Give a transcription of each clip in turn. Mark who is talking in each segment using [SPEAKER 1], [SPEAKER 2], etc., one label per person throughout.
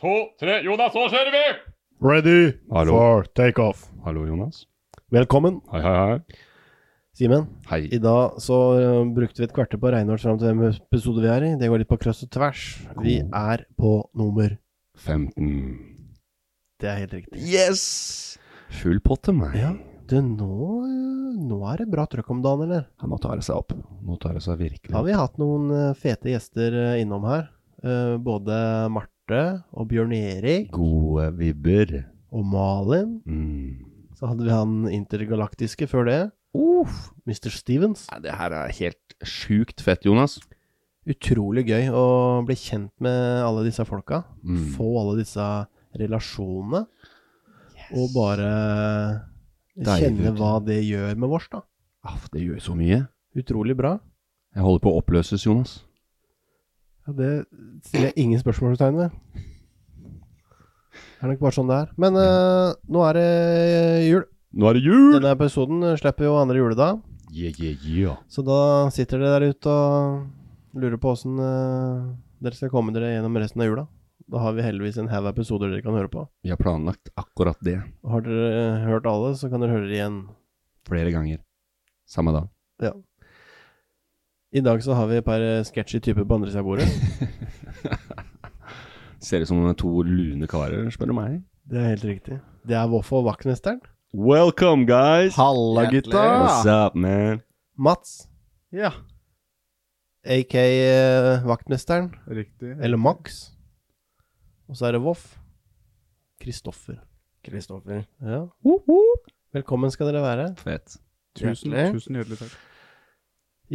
[SPEAKER 1] to, tre. Jonas, nå kjører vi!
[SPEAKER 2] Ready
[SPEAKER 1] Hallo.
[SPEAKER 2] for takeoff.
[SPEAKER 1] Hallo, Jonas.
[SPEAKER 2] Velkommen,
[SPEAKER 1] Hei, hei, hei.
[SPEAKER 2] Simen.
[SPEAKER 1] Hei.
[SPEAKER 2] I dag så ø, brukte vi et kvarter på å regne oss fram til hvem episode vi er i. Det går litt på kryss og tvers. Vi er på nummer
[SPEAKER 1] 15.
[SPEAKER 2] Det er helt riktig.
[SPEAKER 1] Yes! Full pott til meg.
[SPEAKER 2] Ja, det nå, ø, nå er det bra trøkk om dagen, eller?
[SPEAKER 1] Ja, nå tar det seg opp. Nå tar det seg virkelig
[SPEAKER 2] Har vi hatt noen ø, fete gjester ø, innom her? Ø, Både Marte og Bjørn Erik
[SPEAKER 1] Gode vibber.
[SPEAKER 2] og Malin.
[SPEAKER 1] Mm.
[SPEAKER 2] Så hadde vi han intergalaktiske før det.
[SPEAKER 1] Uff.
[SPEAKER 2] Mr. Stevens.
[SPEAKER 1] Nei, det her er helt sjukt fett, Jonas.
[SPEAKER 2] Utrolig gøy å bli kjent med alle disse folka.
[SPEAKER 1] Mm.
[SPEAKER 2] Få alle disse relasjonene. Og bare
[SPEAKER 1] Deilig,
[SPEAKER 2] kjenne
[SPEAKER 1] vet du.
[SPEAKER 2] hva det gjør med vårs, da.
[SPEAKER 1] Aff, det gjør så mye.
[SPEAKER 2] Utrolig bra.
[SPEAKER 1] Jeg holder på å oppløses, Jonas.
[SPEAKER 2] Ja, det stiller jeg ingen spørsmålstegn ved. Det er nok bare sånn det er. Men eh, nå er det jul.
[SPEAKER 1] Nå er det jul!
[SPEAKER 2] Denne episoden slipper jo andre juledag.
[SPEAKER 1] Yeah, yeah, yeah.
[SPEAKER 2] Så da sitter dere der ute og lurer på åssen eh, dere skal komme dere gjennom resten av jula. Da har vi heldigvis en haug episoder dere kan høre på.
[SPEAKER 1] Vi har planlagt akkurat det
[SPEAKER 2] Og Har dere eh, hørt alle, så kan dere høre det igjen.
[SPEAKER 1] flere ganger. Samme dag.
[SPEAKER 2] Ja. I dag så har vi et par eh, sketchy typer på andre siden av bordet.
[SPEAKER 1] Ser ut som to lune karer, spør du meg.
[SPEAKER 2] Det er helt riktig. Det er Voffo og vaktmesteren.
[SPEAKER 1] Welcome, guys!
[SPEAKER 2] Halla,
[SPEAKER 1] What's
[SPEAKER 2] gutta!
[SPEAKER 1] up, man?
[SPEAKER 2] Mats,
[SPEAKER 3] Ja,
[SPEAKER 2] AK eh, vaktmesteren,
[SPEAKER 3] riktig.
[SPEAKER 2] eller Max. Og så er det Voff. Kristoffer.
[SPEAKER 3] Kristoffer.
[SPEAKER 2] Ja. Velkommen skal dere være.
[SPEAKER 1] Fett.
[SPEAKER 3] Tusen
[SPEAKER 2] Hjertelig.
[SPEAKER 3] tusen hjertelig takk.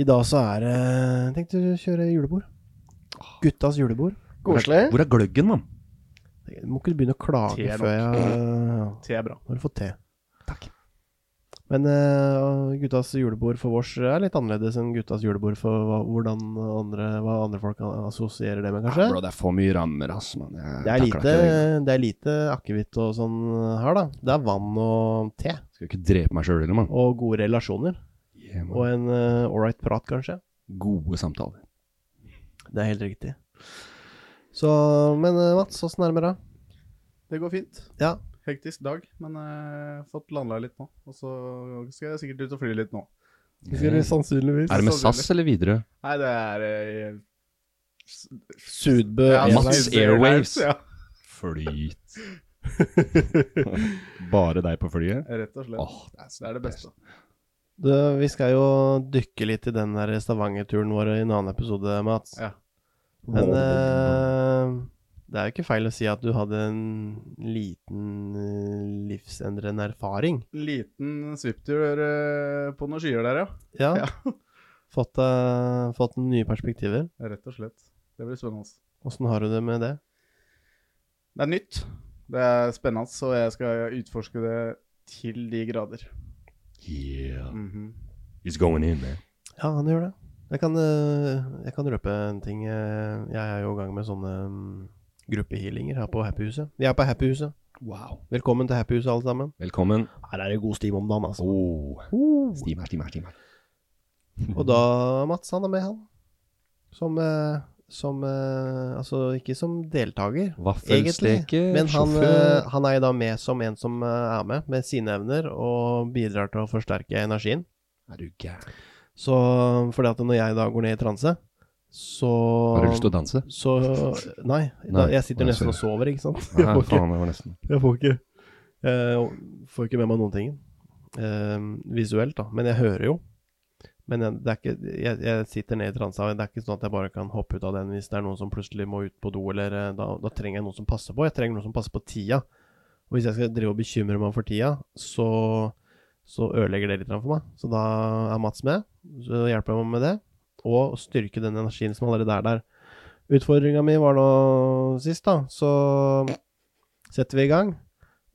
[SPEAKER 2] I dag så er det Jeg tenkte å kjøre julebord. Guttas julebord. Eh?
[SPEAKER 3] Koselig.
[SPEAKER 1] Hvor er gløggen, mann?
[SPEAKER 2] Du må ikke begynne å klage
[SPEAKER 3] Te, da.
[SPEAKER 2] før jeg
[SPEAKER 3] Te er bra.
[SPEAKER 2] Nå har du fått te.
[SPEAKER 1] Takk.
[SPEAKER 2] Men eh, guttas julebord for vårs er litt annerledes enn guttas julebord for hva, hvordan andre, hva andre folk assosierer det med,
[SPEAKER 1] Ja,
[SPEAKER 2] kanskje.
[SPEAKER 1] bro, det er for mye rammer, ass, mann. Jeg
[SPEAKER 2] Eh? Det er,
[SPEAKER 1] takler
[SPEAKER 2] lite,
[SPEAKER 1] ikke det.
[SPEAKER 2] det er lite akevitt og sånn her, da. Det er vann og te.
[SPEAKER 1] Skal ikke drepe meg sjøl heller, mann.
[SPEAKER 2] Og gode relasjoner.
[SPEAKER 1] Yeah, mann.
[SPEAKER 2] Og en uh, ålreit prat, kanskje.
[SPEAKER 1] Gode samtaler.
[SPEAKER 2] Det er helt riktig. Så, men eh, Mats, åssen er det med deg?
[SPEAKER 3] Det går fint.
[SPEAKER 2] Ja.
[SPEAKER 3] Hektisk dag, men jeg har fått landlagt litt nå. Og så skal jeg sikkert ut og fly litt nå.
[SPEAKER 2] Eh. sannsynligvis.
[SPEAKER 1] Er det med SAS eller videre?
[SPEAKER 3] Nei, det er eh, s-
[SPEAKER 2] Sudbø
[SPEAKER 3] ja,
[SPEAKER 2] Airlines.
[SPEAKER 1] Mats
[SPEAKER 3] Sydney
[SPEAKER 1] Airwaves.
[SPEAKER 3] Ja,
[SPEAKER 1] Flyt. Bare deg på flyet?
[SPEAKER 3] rett og slett.
[SPEAKER 1] Åh, det er
[SPEAKER 3] Det er det beste.
[SPEAKER 2] Du, vi skal jo dykke litt i den der Stavanger-turen vår i en annen episode, Mats.
[SPEAKER 3] Ja.
[SPEAKER 2] Men eh, det er jo ikke feil å si at du hadde en liten eh, livsendrende erfaring.
[SPEAKER 3] Liten svipptur eh, på noen skyer der, ja.
[SPEAKER 2] Ja.
[SPEAKER 3] Ja.
[SPEAKER 2] Fått, eh, fått nye perspektiver.
[SPEAKER 3] Rett og slett. Det blir spennende. altså.
[SPEAKER 2] Åssen har du det med det?
[SPEAKER 3] Det er nytt. Det er spennende, så jeg skal utforske det til de grader.
[SPEAKER 1] Yeah.
[SPEAKER 3] Mhm.
[SPEAKER 1] He's going in, man.
[SPEAKER 2] Ja, han gjør det. Jeg kan, eh, jeg kan røpe en ting. eh, Jeg er jo i gang med sånne mm, gruppehealinger her på Happyhuset. Vi er på Happyhuset.
[SPEAKER 1] Wow.
[SPEAKER 2] Velkommen til Happyhuset, alle sammen.
[SPEAKER 1] Velkommen.
[SPEAKER 2] Her er det god stim om dagen, altså.
[SPEAKER 1] Oh. Stim her, stim her, stim her.
[SPEAKER 2] Og da Mats, han er med, han. Som eh, som eh, Altså ikke som deltaker, egentlig.
[SPEAKER 1] Vaffelsteker,
[SPEAKER 2] Men han, eh,
[SPEAKER 1] sjåfør.
[SPEAKER 2] han er jo da med som en som eh, er med, med sine evner, og bidrar til å forsterke energien.
[SPEAKER 1] Er du gæren?
[SPEAKER 2] Så fordi at når jeg da går ned i transe, så
[SPEAKER 1] Har du lyst til å danse?
[SPEAKER 2] Så Nei. Da,
[SPEAKER 1] Nei,
[SPEAKER 2] jeg sitter
[SPEAKER 1] nei,
[SPEAKER 2] nesten og sover,
[SPEAKER 1] sorry.
[SPEAKER 2] ikke sant. Jeg
[SPEAKER 1] Nei,
[SPEAKER 2] får ikke,
[SPEAKER 1] faen, det var nesten.
[SPEAKER 2] jeg får ikke, jeg får ikke med meg noen ting eh, visuelt, da. Men jeg hører jo. Men jeg, det er ikke, jeg, jeg sitter ned i transa, og det er ikke sånn at jeg bare kan hoppe ut av den hvis det er noen som plutselig må ut på do, eller eh, da, da trenger jeg noen som passer på. Jeg trenger noen som passer på tida. Og hvis jeg skal drive og bekymre meg for tida, så, så ødelegger det litt for meg. Så da er Mats med, så hjelper jeg meg med det. Og styrke den energien som allerede er der. Utfordringa mi var nå sist, da. Så setter vi i gang.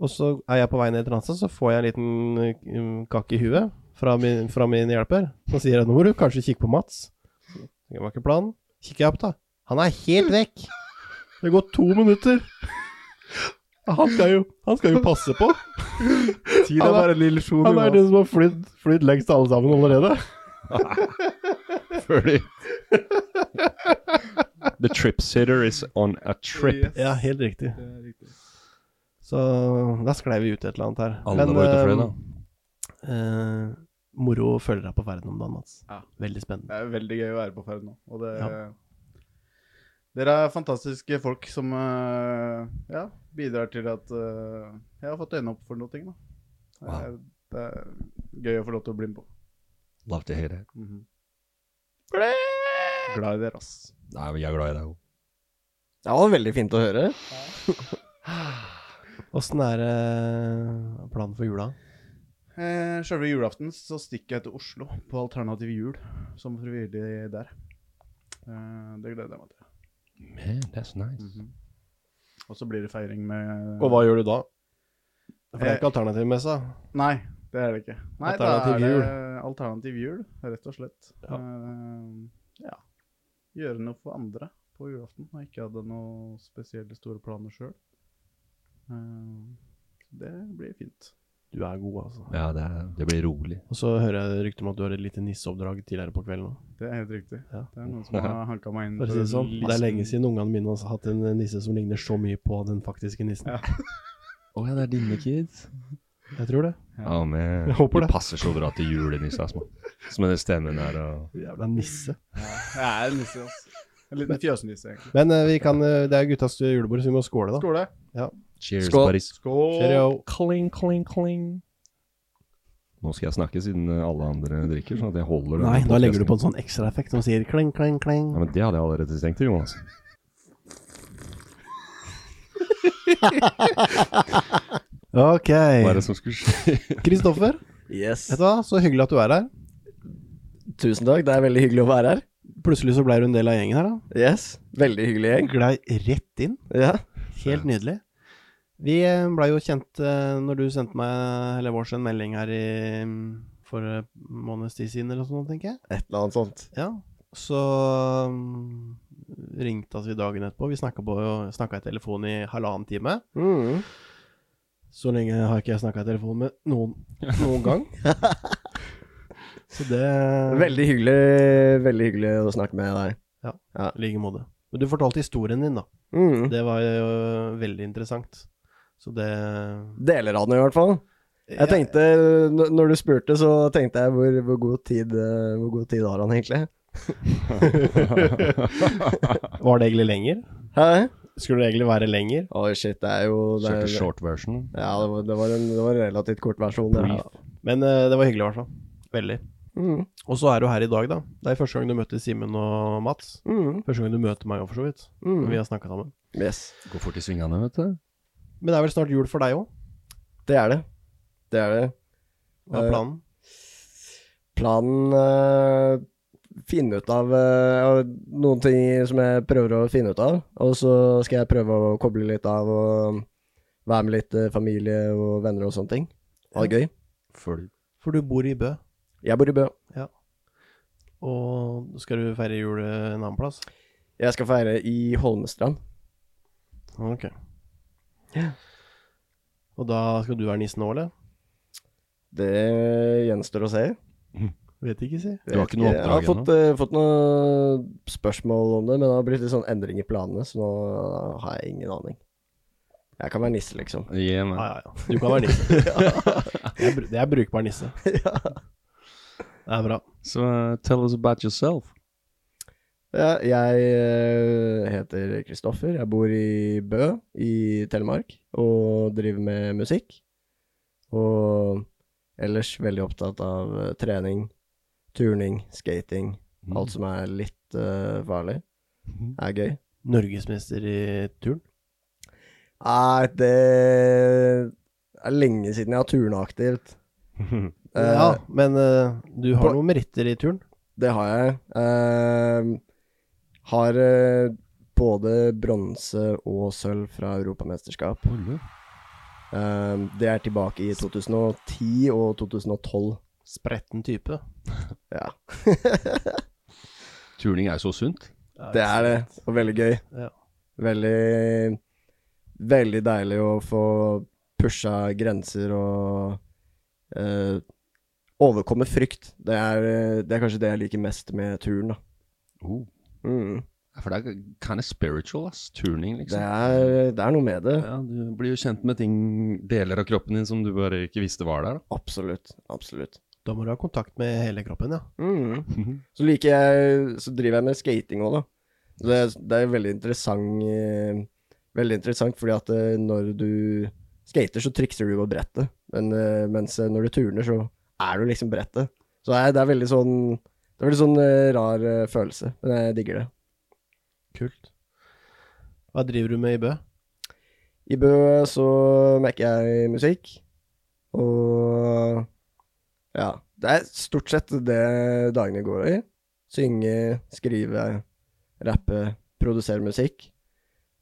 [SPEAKER 2] Og så er jeg på vei ned i transa, så får jeg en liten eh, kake i huet fra min, fra min hjelper. Så sier jeg nå må du kanskje kikke på Mats. Det var ikke planen. Kikker jeg opp, da. Han er helt vekk. Det går to minutter. Han skal jo, han skal jo passe på.
[SPEAKER 3] Tid er bare en illusjon.
[SPEAKER 2] Han er
[SPEAKER 3] Jonas.
[SPEAKER 2] den som har flydd, flydd lengst av alle sammen allerede.
[SPEAKER 1] Før de The trip sitter is on a trip.
[SPEAKER 2] Ja, helt riktig.
[SPEAKER 3] Det er riktig.
[SPEAKER 2] Så da sklei vi ut et eller annet her.
[SPEAKER 1] Alle var ute og fløy, da.
[SPEAKER 2] eh, moro å følge deg på verden om dagen, Mats.
[SPEAKER 3] Ja.
[SPEAKER 2] Veldig spennende.
[SPEAKER 3] Det er veldig gøy å være på ferd nå. Og det,
[SPEAKER 2] Ja.
[SPEAKER 3] Dere er fantastiske folk som eh, ja, bidrar til at eh, jeg har fått øynene opp for noe. ting, Da. Det, er, det er gøy å få lov til å bli med på.
[SPEAKER 1] Love to hear it.
[SPEAKER 3] Mhm. Glad i dere, ass.
[SPEAKER 1] Nei, men jeg er glad i deg òg.
[SPEAKER 4] Det var veldig fint å høre.
[SPEAKER 2] Åssen er eh, planen for jula?
[SPEAKER 3] Eh, Sjølve julaften så stikker jeg til Oslo på Alternativ Jul som frivillig der. Eh, det gleder jeg meg til.
[SPEAKER 1] Man, that's nice.
[SPEAKER 3] Og så blir det feiring med
[SPEAKER 2] Og hva gjør du da? For det
[SPEAKER 3] Eh,
[SPEAKER 2] er ikke alternativmessa.
[SPEAKER 3] Nei, det er det ikke. Nei,
[SPEAKER 2] Alternativ
[SPEAKER 3] da er
[SPEAKER 2] jul.
[SPEAKER 3] det alternativ jul, rett og slett.
[SPEAKER 2] Ja.
[SPEAKER 3] Eh, ja. Gjøre noe for andre på julaften når jeg ikke hadde noe spesielle store planer sjøl. det blir fint.
[SPEAKER 2] Du er god, altså.
[SPEAKER 1] Ja, det, er, det blir rolig.
[SPEAKER 2] Og så hører jeg rykter om at du har et lite nisseoppdrag tidligere på kvelden òg.
[SPEAKER 3] Det er helt riktig.
[SPEAKER 2] Ja.
[SPEAKER 3] Det er noen som har hanka meg inn.
[SPEAKER 2] For å si
[SPEAKER 3] en
[SPEAKER 2] det sånn, det er
[SPEAKER 3] liten-
[SPEAKER 2] lenge siden ungene mine også har hatt en nisse som ligner så mye på den faktiske nissen.
[SPEAKER 3] Ja.
[SPEAKER 1] Å ja, det er dine kids.
[SPEAKER 2] Jeg tror det.
[SPEAKER 1] Ja, men
[SPEAKER 2] Jeg håper
[SPEAKER 1] de
[SPEAKER 2] det.
[SPEAKER 1] passer så bra til julenissen, altså. Som den stemmen der og
[SPEAKER 2] Jævla nisse.
[SPEAKER 3] Jeg er en nisse, altså. En liten fjøsnisse, egentlig.
[SPEAKER 2] Men eh, vi kan, eh, det er guttas julebord, så vi må skåle, da.
[SPEAKER 3] Skål, det.
[SPEAKER 1] Cheers,
[SPEAKER 4] Skål.
[SPEAKER 1] buddies.
[SPEAKER 3] Skål.
[SPEAKER 2] Cheerio.
[SPEAKER 1] Kling, kling, kling. Nå skal jeg snakke siden eh, alle andre drikker, sånn at jeg holder
[SPEAKER 2] Nei, da legger du på en sånn ekstraeffekt som sier kling, kling, kling.
[SPEAKER 1] Ja, men Det hadde jeg allerede tenkt, altså. Jonas.
[SPEAKER 2] Ok.
[SPEAKER 1] Hva er det som skulle skje?
[SPEAKER 2] Kristoffer,
[SPEAKER 4] Yes.
[SPEAKER 2] vet du hva? Så hyggelig at du er her.
[SPEAKER 4] Tusen takk, det er veldig hyggelig å være her.
[SPEAKER 2] Plutselig så blei du en del av gjengen her, da.
[SPEAKER 4] Yes, Veldig hyggelig gjeng.
[SPEAKER 2] Glei rett inn.
[SPEAKER 4] Ja.
[SPEAKER 2] Helt nydelig. Vi eh, blei jo kjent eh, når du sendte meg eller vårs en melding her i, mm, for en måneds tid siden eller noe sånt, tenker jeg.
[SPEAKER 4] Et eller annet sånt.
[SPEAKER 2] Ja. Så mm, ringte vi dagen etterpå. Vi snakka i telefon i halvannen time.
[SPEAKER 4] Mm.
[SPEAKER 2] Så lenge har ikke jeg snakka i telefon med noen noen gang. Så det
[SPEAKER 4] Veldig hyggelig Veldig hyggelig å snakke med deg.
[SPEAKER 2] I like måte. Men du fortalte historien din, da.
[SPEAKER 4] Mm.
[SPEAKER 2] Det var jo veldig interessant. Så det
[SPEAKER 4] Deler av den, i hvert fall. Jeg tenkte, n- Når du spurte, så tenkte jeg hvor, hvor, god tid, eh, hvor god tid har han egentlig?
[SPEAKER 2] Var det egentlig lenger?
[SPEAKER 4] Hæ?
[SPEAKER 2] Skulle det egentlig være lenger?
[SPEAKER 4] Oi, shit, det er jo det er,
[SPEAKER 1] Kjørte short version.
[SPEAKER 4] Ja, det var, det, var en, det var en relativt kort versjon. det her.
[SPEAKER 2] Men eh, det var hyggelig, i hvert fall. Veldig.
[SPEAKER 4] Mm.
[SPEAKER 2] Og så er du her i dag, da. Det er første gang du møter Simen og Mats.
[SPEAKER 4] Mm.
[SPEAKER 2] Første gang du møter meg òg, for så vidt.
[SPEAKER 4] Mm.
[SPEAKER 2] Når vi har snakka sammen.
[SPEAKER 4] Yes.
[SPEAKER 1] Går fort i svingene, vet du.
[SPEAKER 2] Men det er vel snart jul for deg òg?
[SPEAKER 4] Det er det. Det er det.
[SPEAKER 2] Hva er
[SPEAKER 4] Eh,
[SPEAKER 2] planen?
[SPEAKER 4] planen eh, finne ut av eh, noen ting som jeg prøver å finne ut av. Og så skal jeg prøve å koble litt av og være med litt eh, familie og venner og sånne ting. Ha det gøy.
[SPEAKER 1] Følg.
[SPEAKER 2] For du bor i Bø,
[SPEAKER 4] Jeg bor i Bø.
[SPEAKER 2] og skal du feire jul en annen plass?
[SPEAKER 4] Jeg skal feire i Holmestrand.
[SPEAKER 2] Ok. Og da skal du være nissen nå, eller?
[SPEAKER 4] Det gjenstår å se.
[SPEAKER 5] Vet ikke, si.
[SPEAKER 1] Du har ikke noe
[SPEAKER 2] Jeg har
[SPEAKER 1] oppdrag
[SPEAKER 2] fått,
[SPEAKER 1] ennå?
[SPEAKER 2] eh, fått noen spørsmål om det, men det har blitt litt sånn endring i planene, så nå har jeg ingen aning. Jeg kan være nisse, liksom.
[SPEAKER 1] Gi meg.
[SPEAKER 5] Ja, ja, ja. Du kan være nisse. Jeg br- Det er brukbar nisse. Det er bra.
[SPEAKER 1] So uh, tell us about yourself.
[SPEAKER 2] Ja, jeg eh, heter Kristoffer, jeg bor i Bø i Telemark og driver med musikk. Og ellers veldig opptatt av eh, trening, turning, skating, alt som er litt eh, farlig, er gøy.
[SPEAKER 5] Norgesmester i turn.
[SPEAKER 2] Nei, det er lenge siden jeg har turna aktivt. Eh,
[SPEAKER 5] Ja, men eh, du
[SPEAKER 2] på-
[SPEAKER 5] har noen meritter i turn.
[SPEAKER 2] Det har jeg. Eh, har eh, både bronse og sølv fra europamesterskap. Eh, det er tilbake i 2010 og 2012.
[SPEAKER 5] Spretten type.
[SPEAKER 2] Ja,
[SPEAKER 1] Turning er jo så sunt.
[SPEAKER 2] det er det. Og veldig gøy.
[SPEAKER 5] Ja.
[SPEAKER 2] Veldig Veldig deilig å få pusha grenser og eh, overkomme frykt. Det er, eh, det er kanskje det jeg liker mest med turen, da.
[SPEAKER 1] Oh.
[SPEAKER 2] Mm.
[SPEAKER 1] Ja, For det er kind of spiritual, ass. Turning,
[SPEAKER 2] Det,
[SPEAKER 1] liksom.
[SPEAKER 2] er, det er noe med det.
[SPEAKER 1] Ja, du blir jo kjent med ting, deler av kroppen din som du bare ikke visste var der. Da.
[SPEAKER 2] Absolutt. Absolutt.
[SPEAKER 5] Da må du ha kontakt med hele kroppen, ja.
[SPEAKER 2] Mm. Så liker jeg Så driver jeg med skating òg, da. Så det, det er veldig interessant eh, Veldig interessant fordi at eh, når du skater, så trikser du på brettet. Men, eh, mens eh, når du turner, så er du liksom brettet. Så det er, det er veldig sånn Det er veldig sånn eh, rar eh, følelse. Men jeg digger det.
[SPEAKER 5] Kult. Hva driver du med i Bø?
[SPEAKER 2] I Bø så mekker jeg musikk. Og ja. Det er stort sett det dagene går i. Synge, skrive, rappe, produsere musikk.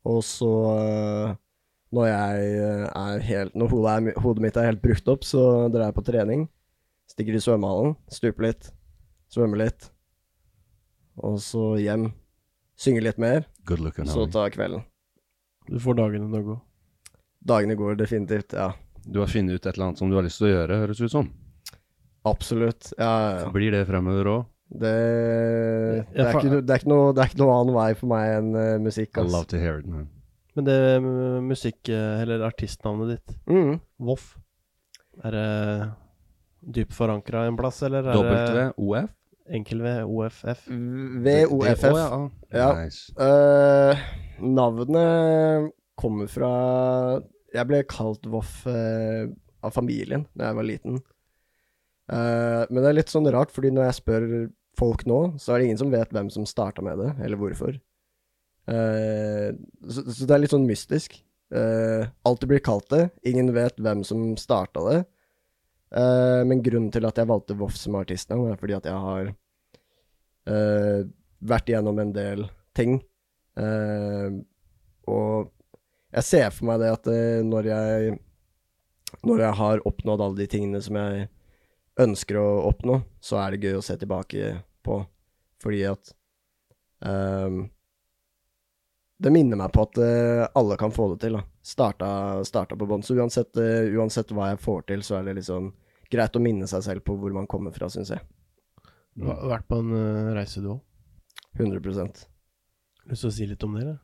[SPEAKER 2] Og så eh, når jeg eh, er helt Når hodet, er, hodet mitt er helt brukt opp, så drar jeg på trening. Stikker i svømmehallen, stuper litt, svømmer litt. Og så hjem. Synge litt mer,
[SPEAKER 1] Good looking,
[SPEAKER 2] så
[SPEAKER 1] honey.
[SPEAKER 2] tar kvelden.
[SPEAKER 5] Du får dagene til å gå.
[SPEAKER 2] Dagene går definitivt, ja.
[SPEAKER 1] Du har funnet ut et eller annet som du har lyst til å gjøre, høres ut som.
[SPEAKER 2] Absolutt. Ja, ja, ja.
[SPEAKER 1] Blir det fremover òg?
[SPEAKER 2] Det, det,
[SPEAKER 5] Ja,
[SPEAKER 2] er
[SPEAKER 5] for-
[SPEAKER 2] ikke, no- det, er ikke noe, det er ikke noe annen vei for meg enn eh, musikk.
[SPEAKER 1] I
[SPEAKER 2] ass.
[SPEAKER 1] love to hear it, man.
[SPEAKER 5] Men det eh, musikk... eh, Eller artistnavnet ditt,
[SPEAKER 2] Mm.
[SPEAKER 5] Voff, er det dypt forankra en plass, eller er det
[SPEAKER 1] WOF?
[SPEAKER 5] enkel V, OFF?
[SPEAKER 2] VOFF.
[SPEAKER 1] Å, ja.
[SPEAKER 2] Ja.
[SPEAKER 1] Nice.
[SPEAKER 2] Eh, navnet kommer fra Jeg ble kalt Voff eh, av familien da jeg var liten. Eh, men det er litt sånn rart, fordi når jeg spør folk nå, så er det ingen som vet hvem som starta med det, eller hvorfor. Eh, så, så det er litt sånn mystisk. Eh, alt det blir kalt det. Ingen vet hvem som starta det. Eh, men grunnen til at jeg valgte Voff som artistnavn, er fordi at jeg har eh, vært igjennom en del ting. Eh, og jeg ser for meg det at eh, når jeg Når jeg har oppnådd alle de tingene som jeg ønsker å oppnå, så er det gøy å se tilbake på. Fordi at eh, Det minner meg på at eh, alle kan få det til. da Starta, starta på bånn. Så uansett, eh, uansett hva jeg får til, så er det liksom greit å minne seg selv på hvor man kommer fra, syns jeg.
[SPEAKER 5] Du har vært på en eh, reise, du òg.
[SPEAKER 2] 100
[SPEAKER 5] Lyst til å si litt om det, eller?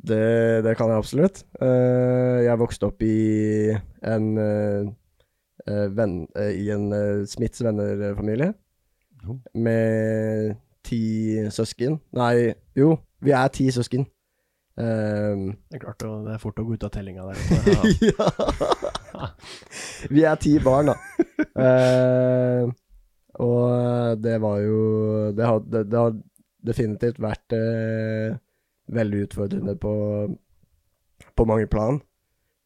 [SPEAKER 2] Det, det kan jeg absolutt. Eh, jeg vokste opp i en, eh, eh, venn, eh, i en eh, Smiths venner-familie.
[SPEAKER 1] Jo.
[SPEAKER 2] Med ti søsken. Nei, jo, vi er ti søsken. Eh,
[SPEAKER 5] Det er klart, å- det er fort å gå ut av tellinga der.
[SPEAKER 2] ja. Vi er ti barn, da. Eh, og eh, det var jo Det har, det, det har definitivt vært eh, veldig utfordrende på, på mange plan.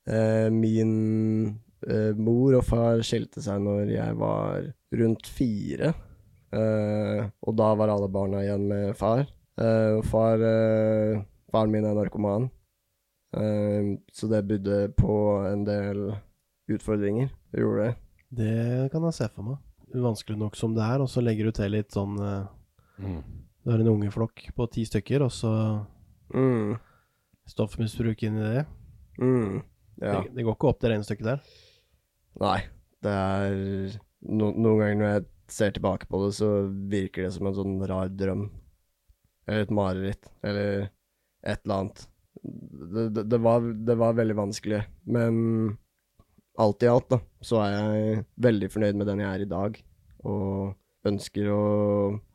[SPEAKER 2] Eh, min eh, mor og far skilte seg når jeg var rundt fire. Eh, og da var alle barna igjen med far. Eh, og far eh, Faren min er narkoman. Eh, Så det bydde på en del utfordringer. Det gjorde det.
[SPEAKER 5] Det kan jeg se for meg. Vanskelig nok som det er, altså. og så legger du til litt sånn eh,
[SPEAKER 1] Mm.
[SPEAKER 5] Du har en ungeflokk på ti stykker, og så
[SPEAKER 2] Mm.
[SPEAKER 5] stoffmisbruk inn i det. det.
[SPEAKER 2] Ja.
[SPEAKER 5] Det går ikke opp det regnestykket der.
[SPEAKER 2] Nei. Det er no, Noen ganger når jeg ser tilbake på det, så virker det som en sånn rar drøm. Eller et mareritt, eller et eller annet. Det, det, det, var, det var veldig vanskelig, men alt i alt, da, så er jeg veldig fornøyd med den jeg er i dag, og ønsker å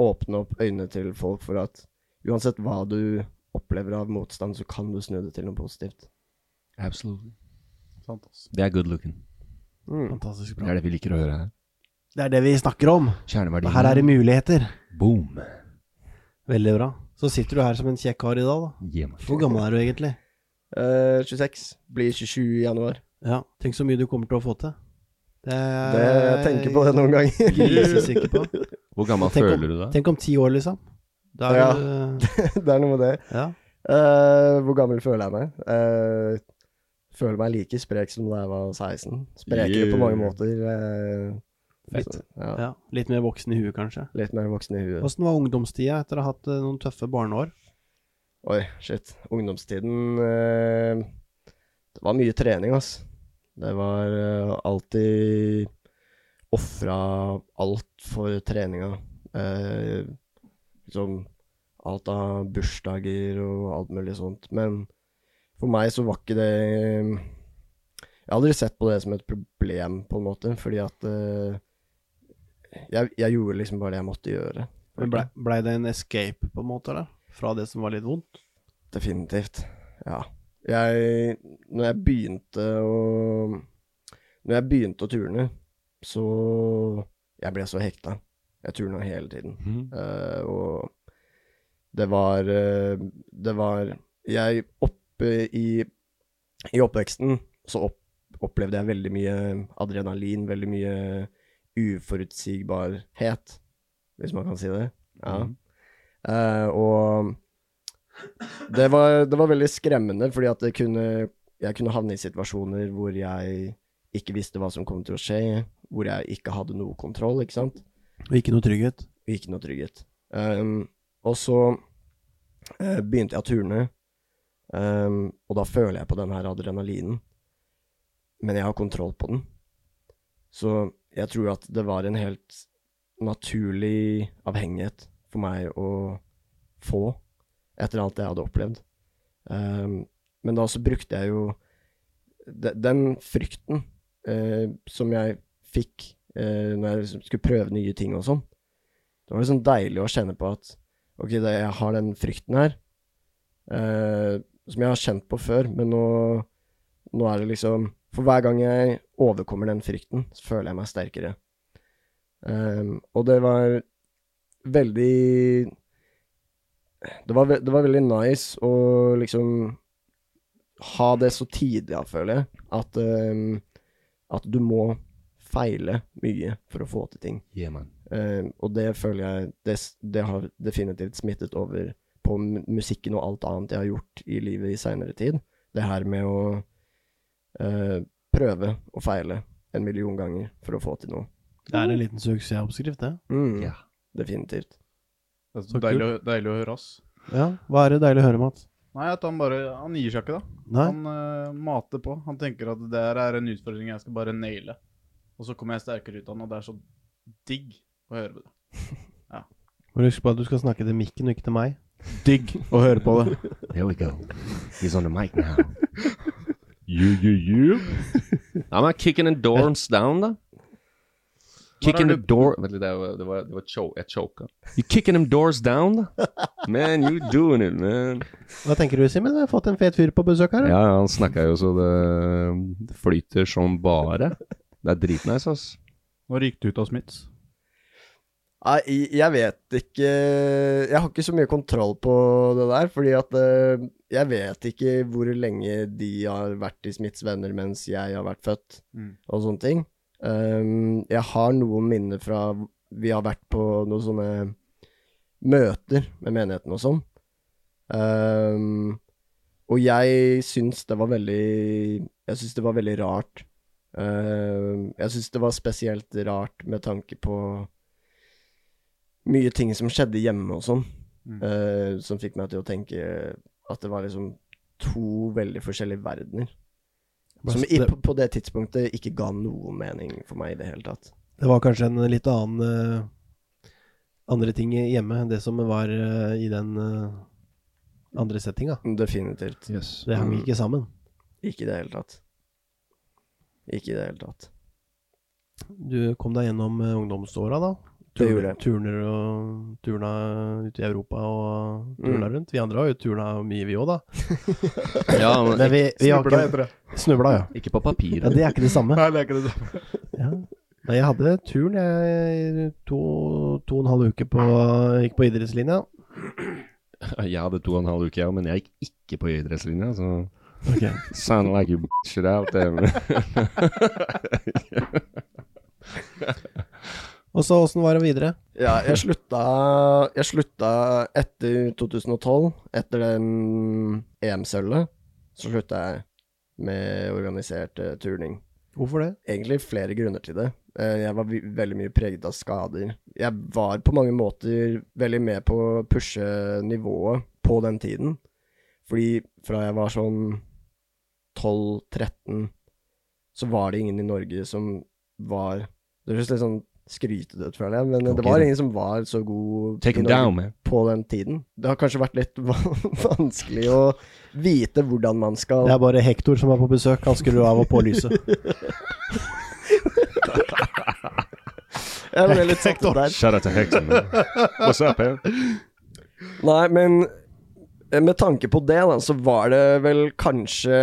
[SPEAKER 2] åpne opp øynene til folk for at uansett hva du opplever av motstand, så kan du snu det til noe positivt.
[SPEAKER 1] Absolutely.
[SPEAKER 3] Sant, ass.
[SPEAKER 1] Det er good looking.
[SPEAKER 5] Fantastisk
[SPEAKER 1] Det
[SPEAKER 5] bra.
[SPEAKER 1] er det vi liker å høre her.
[SPEAKER 5] Det er det vi snakker om.
[SPEAKER 1] Kjerneverdiene.
[SPEAKER 5] Her er det muligheter.
[SPEAKER 1] Boom.
[SPEAKER 5] Veldig bra. Så sitter du her som en kjekk kar i dag, da.
[SPEAKER 1] Yeah.
[SPEAKER 5] Hvor gammel er du egentlig?
[SPEAKER 2] Eh, 26. Blir 27 i januar.
[SPEAKER 5] Ja, tenk så mye du kommer til å få til. Det er
[SPEAKER 2] Det, jeg tenker på det noen ganger.
[SPEAKER 5] Grisesikker på.
[SPEAKER 1] Hvor gammel
[SPEAKER 5] Tenk om-
[SPEAKER 1] føler du deg?
[SPEAKER 5] Tenk om ti år, liksom. Da er
[SPEAKER 2] Ja.
[SPEAKER 5] du
[SPEAKER 2] det er noe med det.
[SPEAKER 5] Ja.
[SPEAKER 2] Eh, hvor gammel føler jeg meg? Eh, føler meg like sprek som da jeg var 16. Sprekere på mange måter. eh,
[SPEAKER 1] Fett.
[SPEAKER 2] så, ja,
[SPEAKER 5] ja. Litt mer voksen i huet, kanskje.
[SPEAKER 2] litt mer voksen i huet.
[SPEAKER 5] Åssen var ungdomstida etter å ha hatt eh, noen tøffe barneår?
[SPEAKER 2] Oi, shit. Ungdomstiden eh, Det var mye trening, ass. Det var eh, alltid Ofra alt for treninga. Eh, liksom alt av bursdager og alt mulig sånt. Men for meg så var ikke det eh, Jeg har aldri sett på det som et problem, på en måte, fordi at eh, jeg, jeg gjorde liksom bare det jeg måtte gjøre.
[SPEAKER 5] Men Blei ble det en escape, på en måte? da? Fra det som var litt vondt?
[SPEAKER 2] Definitivt. Ja. Jeg Når jeg begynte å Når jeg begynte å turne, så Jeg ble så hekta. Jeg turna hele tiden. Eh, og det var eh, Det var Jeg oppe i I oppveksten så opp, opplevde jeg veldig mye adrenalin, veldig mye uforutsigbarhet, hvis man kan si det. Ja. Eh, og det var, det var veldig skremmende, fordi at det kunne, jeg kunne havne i situasjoner hvor jeg ikke visste hva som kom til å skje, hvor jeg ikke hadde noe kontroll, ikke sant?
[SPEAKER 5] Og ikke noe trygghet?
[SPEAKER 2] og ikke noe trygghet. Ehm, og så eh, begynte jeg å turne, ehm, og da føler jeg på den her adrenalinen. Men jeg har kontroll på den. Så jeg tror at det var en helt naturlig avhengighet for meg å få etter alt jeg hadde opplevd. Ehm, men da så brukte jeg jo de, den frykten eh, som jeg fikk eh, når jeg liksom skulle prøve nye ting og sånn, det var liksom deilig å kjenne på at ok, det, jeg har den frykten her, eh, som jeg har kjent på før, men nå, nå er det liksom For hver gang jeg overkommer den frykten, så føler jeg meg sterkere. Ehm, og det var veldig det var, ve- det var veldig nice å liksom ha det så tidlig, jeg føler jeg, at, ehm, at du må feile mye for å få til ting.
[SPEAKER 1] Yeah, man.
[SPEAKER 2] Eh, og det føler jeg det, s- det har definitivt smittet over på mu- musikken og alt annet jeg har gjort i livet i seinere tid. Det her med å eh, prøve og feile en million ganger for å få til noe.
[SPEAKER 5] Det er en liten suksessoppskrift, det.
[SPEAKER 2] Mm,
[SPEAKER 1] Ja.
[SPEAKER 2] Definitivt.
[SPEAKER 3] Det er så
[SPEAKER 5] Så
[SPEAKER 3] deilig, å- deilig å høre, ass.
[SPEAKER 5] Ja. Hva er det deilig å høre, Mats?
[SPEAKER 3] Nei, at han bare Han gir seg ikke, da.
[SPEAKER 5] Nei?
[SPEAKER 3] Han eh, mater på. Han tenker at det her er en utfordring jeg skal bare naile. Og så kommer jeg sterkere ut av den, og det er så digg å høre på det.
[SPEAKER 5] Men husk på at du skal snakke til mikken, og ikke til meg.
[SPEAKER 3] Digg å høre på det.
[SPEAKER 1] There we go. He's on the mic now. you, you, you. Nei, men kicking the doors down, da. Kicking the door Vent litt, det var, det var, det var cho jeg choka. You kicking them doors down, da? Man, you doing it, man.
[SPEAKER 5] Hva tenker du, Simen? Vi har fått en fet fyr på besøk her.
[SPEAKER 1] Ja, ja, han snakka jo så det, det flyter som bare. Det er dritnice, ass.
[SPEAKER 3] Nå ryker du ut av Smiths.
[SPEAKER 2] Nei, jeg- jeg vet ikke Jeg har ikke så mye kontroll på det der, fordi at eh, jeg vet ikke hvor lenge de har vært i Smiths venner mens jeg har vært født,
[SPEAKER 3] Mm.
[SPEAKER 2] og sånne ting. Um, jeg har noen minner fra Vi har vært på noen sånne møter med menigheten og sånn. Um, og jeg syns det var veldig Jeg syns det var veldig rart. Um, jeg syns det var spesielt rart med tanke på mye ting som skjedde hjemme og sånn,
[SPEAKER 3] Mm.
[SPEAKER 2] eh, som fikk meg til å tenke at det var liksom to veldig forskjellige verdener. Som i, på, på det tidspunktet ikke ga noe mening for meg i det hele tatt.
[SPEAKER 5] Det var kanskje en litt annen eh, andre ting hjemme enn det som var eh, i den eh, andre settinga.
[SPEAKER 2] Definitivt.
[SPEAKER 1] Yes.
[SPEAKER 5] Det hang
[SPEAKER 2] Mm.
[SPEAKER 5] ikke sammen.
[SPEAKER 2] Ikke i det hele tatt. Ikke i det hele tatt.
[SPEAKER 5] Du kom deg gjennom eh, ungdomsåra, da.
[SPEAKER 2] Det gjorde jeg.
[SPEAKER 5] Turner og turna ute i Europa og turna
[SPEAKER 2] Mm.
[SPEAKER 5] rundt. Vi andre har jo turna mye, vi òg, da.
[SPEAKER 1] Ja, men
[SPEAKER 5] vi,
[SPEAKER 3] Snubla heter det.
[SPEAKER 5] Snubla, ja.
[SPEAKER 1] ikke på papir.
[SPEAKER 5] ja. Det er ikke det samme.
[SPEAKER 3] Nei, det er ikke det samme.
[SPEAKER 5] Ja. Nei, jeg hadde turn jeg, i to, to og en halv uke på Gikk på idrettslinja.
[SPEAKER 1] Jeg hadde to og en halv uke, jeg òg, men jeg gikk ikke på idrettslinja. Så
[SPEAKER 5] Ok.
[SPEAKER 1] sound like you bitched out there.
[SPEAKER 5] Og så åssen var det videre?
[SPEAKER 2] Ja, jeg slutta, jeg slutta etter 2012. Etter den EM-sølvet, så slutta jeg med organisert eh, turning.
[SPEAKER 5] Hvorfor det?
[SPEAKER 2] Egentlig flere grunner til det. Eh, Jeg var vi- veldig mye preget av skader. Jeg var på mange måter veldig med på å pushe nivået på den tiden. Fordi fra jeg var sånn 12-13, så var det ingen i Norge som var Det høres litt sånn skrytete ut, føler jeg, men
[SPEAKER 1] Ok.
[SPEAKER 2] det var ingen som var så god i
[SPEAKER 1] Take him
[SPEAKER 2] Norge
[SPEAKER 1] down, man.
[SPEAKER 2] på den tiden. Det har kanskje vært litt vanskelig å vite hvordan man skal
[SPEAKER 5] Det er bare Hector som er på besøk. altså. Han skrur av og på lyset.
[SPEAKER 2] Jeg ble litt satt ut der.
[SPEAKER 1] Shout out to Hector, man. What's up, man?
[SPEAKER 2] Nei, men eh, med tanke på det, da, så var det vel kanskje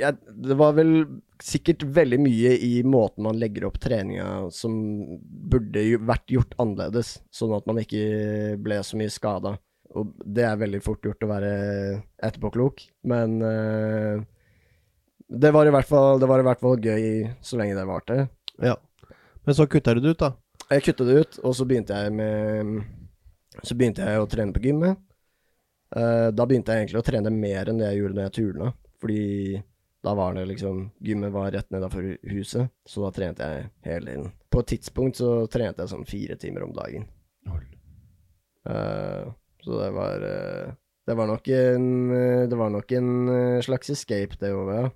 [SPEAKER 2] jeg, Det var vel sikkert veldig mye i måten man legger opp treninga som burde jo vært gjort annerledes, sånn at man ikke ble så mye skada. Og det er veldig fort gjort å være etterpåklok, men eh, det var, i hvert fall, det var i hvert fall gøy så lenge det varte.
[SPEAKER 5] Ja. Men så kutta du det ut, da.
[SPEAKER 2] Jeg kuttet det ut, og så begynte jeg med Så begynte jeg å trene på gymmet. Eh, da begynte jeg egentlig å trene mer enn det jeg gjorde når jeg turna. Fordi da var det liksom Gymmet var rett nedafor huset, så da trente jeg hele tiden. På et tidspunkt så trente jeg sånn fire timer om dagen. Eh, så det var eh, Det var nok en eh, Det var nok en eh, slags escape, det òg, ja.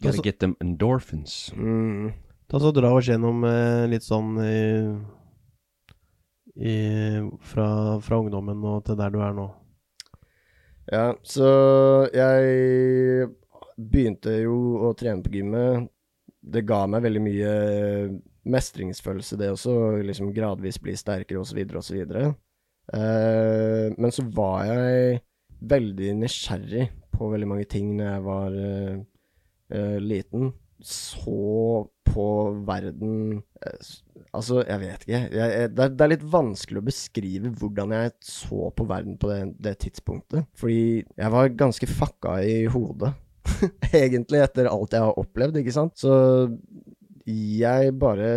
[SPEAKER 1] Gotta get them endorphins.
[SPEAKER 2] Mm.
[SPEAKER 5] Ta så dra oss gjennom eh, litt sånn i, i, fra, fra ungdommen og til der du er nå.
[SPEAKER 2] Ja, så jeg begynte jo å trene på gymmet. Det ga meg veldig mye eh, mestringsfølelse, det også. å Liksom gradvis bli sterkere, osv., osv. Eh, men så var jeg veldig nysgjerrig på veldig mange ting når jeg var eh, eh, liten. Så på verden eh, s- Altså, jeg vet ikke. Jeg, jeg, det, er, det er litt vanskelig å beskrive hvordan jeg så på verden på det, det tidspunktet. Fordi jeg var ganske fucka i hodet, egentlig, etter alt jeg har opplevd, ikke sant. Så jeg bare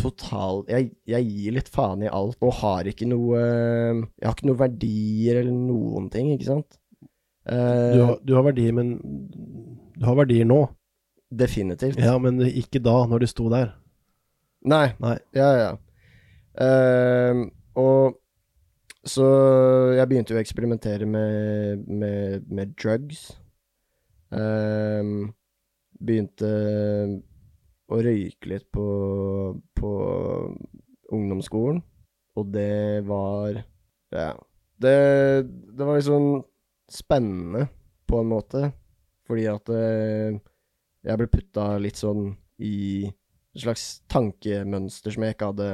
[SPEAKER 2] total jeg, jeg gir litt faen i alt, og har ikke noe Jeg har ikke noen verdier eller noen ting, ikke sant? Eh,
[SPEAKER 5] Du har, du har verdier, men Du har verdier nå.
[SPEAKER 2] Definitivt.
[SPEAKER 5] Ja, men ikke da, når du sto der.
[SPEAKER 2] Nei.
[SPEAKER 5] Nei.
[SPEAKER 2] Ja, ja. Ehm, og så jeg begynte jo å eksperimentere med, med, med drugs. Ehm, begynte å røyke litt på, på ungdomsskolen, og det var Ja. Det, det var liksom spennende, på en måte, fordi at eh, jeg ble putta litt sånn i et slags tankemønster som jeg ikke hadde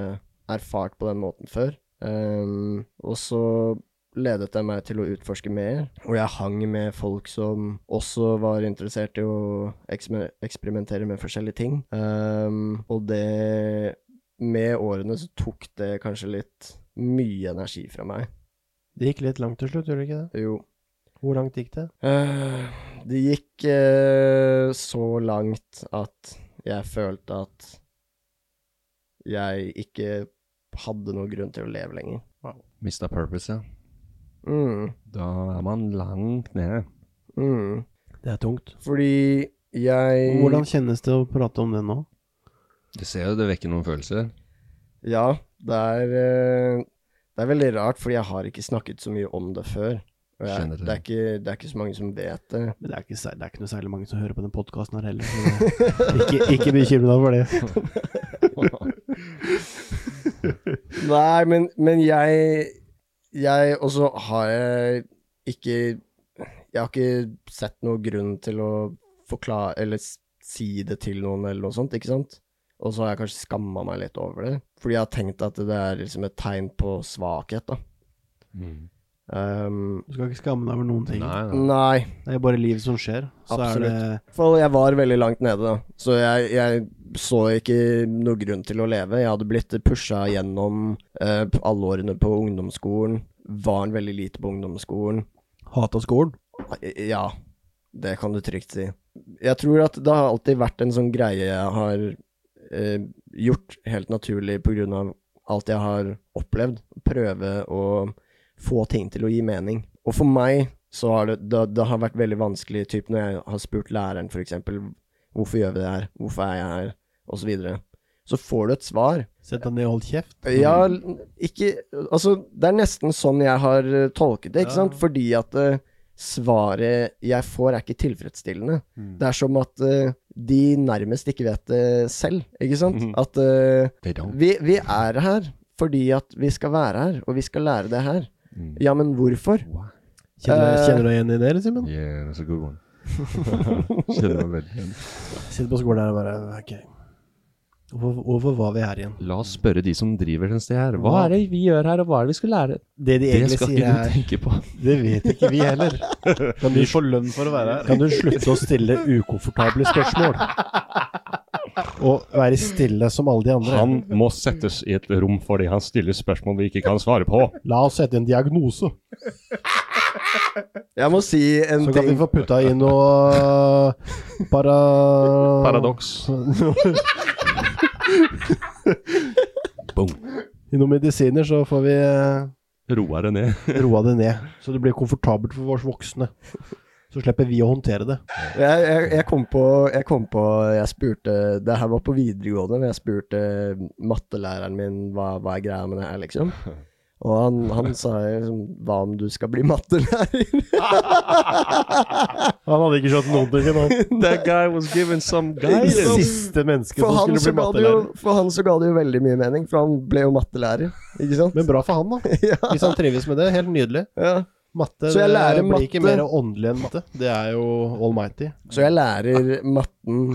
[SPEAKER 2] erfart på den måten før. Ehm, og så ledet det meg til å utforske mer, og jeg hang med folk som også var interessert i å eksper eksperimentere med forskjellige ting. Ehm, og det Med årene så tok det kanskje litt mye energi fra meg.
[SPEAKER 5] Det gikk litt langt til slutt, gjorde det ikke det?
[SPEAKER 2] Jo.
[SPEAKER 5] Hvor langt gikk det?
[SPEAKER 2] Eh, det gikk eh, så langt at jeg følte at jeg ikke hadde noen grunn til å leve lenger.
[SPEAKER 1] Mista purpose, ja.
[SPEAKER 2] Mm,
[SPEAKER 1] Da er man langt nede.
[SPEAKER 2] mm.
[SPEAKER 5] Det er tungt.
[SPEAKER 2] Fordi jeg
[SPEAKER 5] Hvordan kjennes det å prate om det nå?
[SPEAKER 1] Du ser jo det vekker noen følelser.
[SPEAKER 2] Ja, det er, eh, det er veldig rart, fordi jeg har ikke snakket så mye om det før. Eh, Og jeg,
[SPEAKER 1] Skjønner det.
[SPEAKER 2] det, er ikke, det er ikke så mange som vet det.
[SPEAKER 5] Men det er ikke, sær- det er ikke noe særlig mange som hører på den podkasten her heller. så Ikke, ikke bekymre deg for det.
[SPEAKER 2] Nei, men, men jeg Jeg også har jeg ikke Jeg har ikke sett noen grunn til å forklare Eller s- si det til noen, eller noe sånt, ikke sant? Og så har jeg kanskje skamma meg litt over det. Fordi jeg har tenkt at det er liksom et tegn på svakhet, da. Um,
[SPEAKER 5] Du skal ikke skamme deg over noen ting.
[SPEAKER 1] Nei, nei.
[SPEAKER 2] nei.
[SPEAKER 5] Det er bare livet som skjer. Så er
[SPEAKER 2] I hvert fall jeg var veldig langt nede, da. Så jeg, jeg så ikke noe grunn til å leve. Jeg hadde blitt pusha gjennom eh, alle årene på ungdomsskolen. Var en veldig lite på ungdomsskolen.
[SPEAKER 5] det hat av skolen.
[SPEAKER 2] Ja, det kan du trygt si. Jeg tror at det har alltid vært en sånn greie jeg har eh, gjort, helt naturlig på grunn av alt jeg har opplevd. Prøve å få ting til å gi mening. Og for meg så har det, det, det har vært veldig vanskelig, typ når jeg har spurt læreren for eksempel, hvorfor gjør vi det her, hvorfor er jeg her, og så videre. Så får du et svar.
[SPEAKER 5] Sett deg ned og hold kjeft.
[SPEAKER 2] Ja, l- ikke Altså, det er nesten sånn jeg har eh, tolket det, ikke sant? Fordi at eh, svaret jeg får, er ikke tilfredsstillende.
[SPEAKER 5] Mm.
[SPEAKER 2] Det er som at eh, de nærmest ikke vet det selv, ikke sant?
[SPEAKER 5] Mm.
[SPEAKER 2] At eh,
[SPEAKER 1] They don't.
[SPEAKER 2] vi, vi er her fordi at vi skal være her, og vi skal lære det her. Ja, men hvorfor?
[SPEAKER 5] Kjenner, kjenner du deg igjen i det, eller, Simen?
[SPEAKER 1] Yeah, that's a good one. Kjenner meg veldig igjen.
[SPEAKER 5] Sitter på skolen her og bare OK. Hvorfor, hvorfor var vi her igjen?
[SPEAKER 1] La oss spørre de som driver den sted her. Hva er det vi gjør her, og hva er det vi skal lære?
[SPEAKER 5] Det de
[SPEAKER 1] Det
[SPEAKER 5] egentlig
[SPEAKER 1] skal
[SPEAKER 5] sier,
[SPEAKER 1] ikke du
[SPEAKER 5] er
[SPEAKER 1] tenke på.
[SPEAKER 5] Det vet ikke vi heller. Kan du,
[SPEAKER 3] Vi får lønn for å være her.
[SPEAKER 5] kan du slutte å stille ukomfortable spørsmål? Og være stille som alle de andre.
[SPEAKER 6] Han må settes i et rom fordi han stiller spørsmål vi ikke kan svare på.
[SPEAKER 5] La oss sette en diagnose,
[SPEAKER 2] Jeg må si en
[SPEAKER 5] så kan vi
[SPEAKER 2] ting
[SPEAKER 5] få putta inn noe eh, para...
[SPEAKER 1] Paradoks. Boom.
[SPEAKER 5] I noen medisiner, så får vi eh,
[SPEAKER 1] Roa det ned.
[SPEAKER 5] roa det ned. Så det blir komfortabelt for oss voksne. Så slipper vi å håndtere det.
[SPEAKER 2] jeg, jeg, jeg, kom på, jeg kom på Jeg spurte Det her var på videregående, men jeg spurte eh, mattelæreren min hva, hva er greia med det her, liksom. Og han, han sa liksom Hva om du skal bli mattelærer?
[SPEAKER 5] Han hadde ikke skjønt noen ting ennå.
[SPEAKER 1] That guy was given some
[SPEAKER 5] Siste menneske
[SPEAKER 2] For
[SPEAKER 5] som
[SPEAKER 2] han,
[SPEAKER 5] skulle
[SPEAKER 2] så
[SPEAKER 5] bli
[SPEAKER 2] ga det jo,
[SPEAKER 5] mattelærer.
[SPEAKER 2] for han så ga det jo veldig mye mening, for han ble jo mattelærer, ikke sant?
[SPEAKER 5] Men bra for han, da.
[SPEAKER 2] Ja.
[SPEAKER 5] Hvis han trives med det. Helt nydelig.
[SPEAKER 2] ja.
[SPEAKER 5] Matte
[SPEAKER 2] Så jeg lærer
[SPEAKER 5] det blir ikke
[SPEAKER 2] matte.
[SPEAKER 5] mer åndelig enn matte. Det er jo almighty.
[SPEAKER 2] Så jeg lærer matten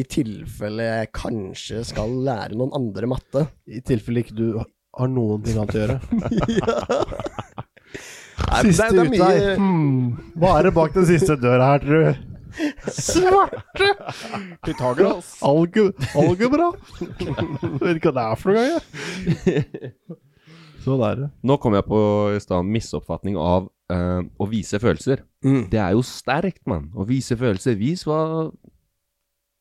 [SPEAKER 2] i tilfelle jeg kanskje skal lære noen andre matte.
[SPEAKER 5] I tilfelle ikke du har noen ting annet å gjøre.
[SPEAKER 2] Nei, men det, det er mye
[SPEAKER 5] Hmm. Hva er det bak den siste døra her, tror du? Svarte! Pythagoras. Alge, algebra. Jeg vet ikke hva det er for noe engang. jeg. Sånn er det.
[SPEAKER 1] Nå kom jeg på i stad misoppfatning av eh, å vise følelser.
[SPEAKER 2] Mm.
[SPEAKER 1] Det er jo sterkt, mann. Å vise følelser. Vis hva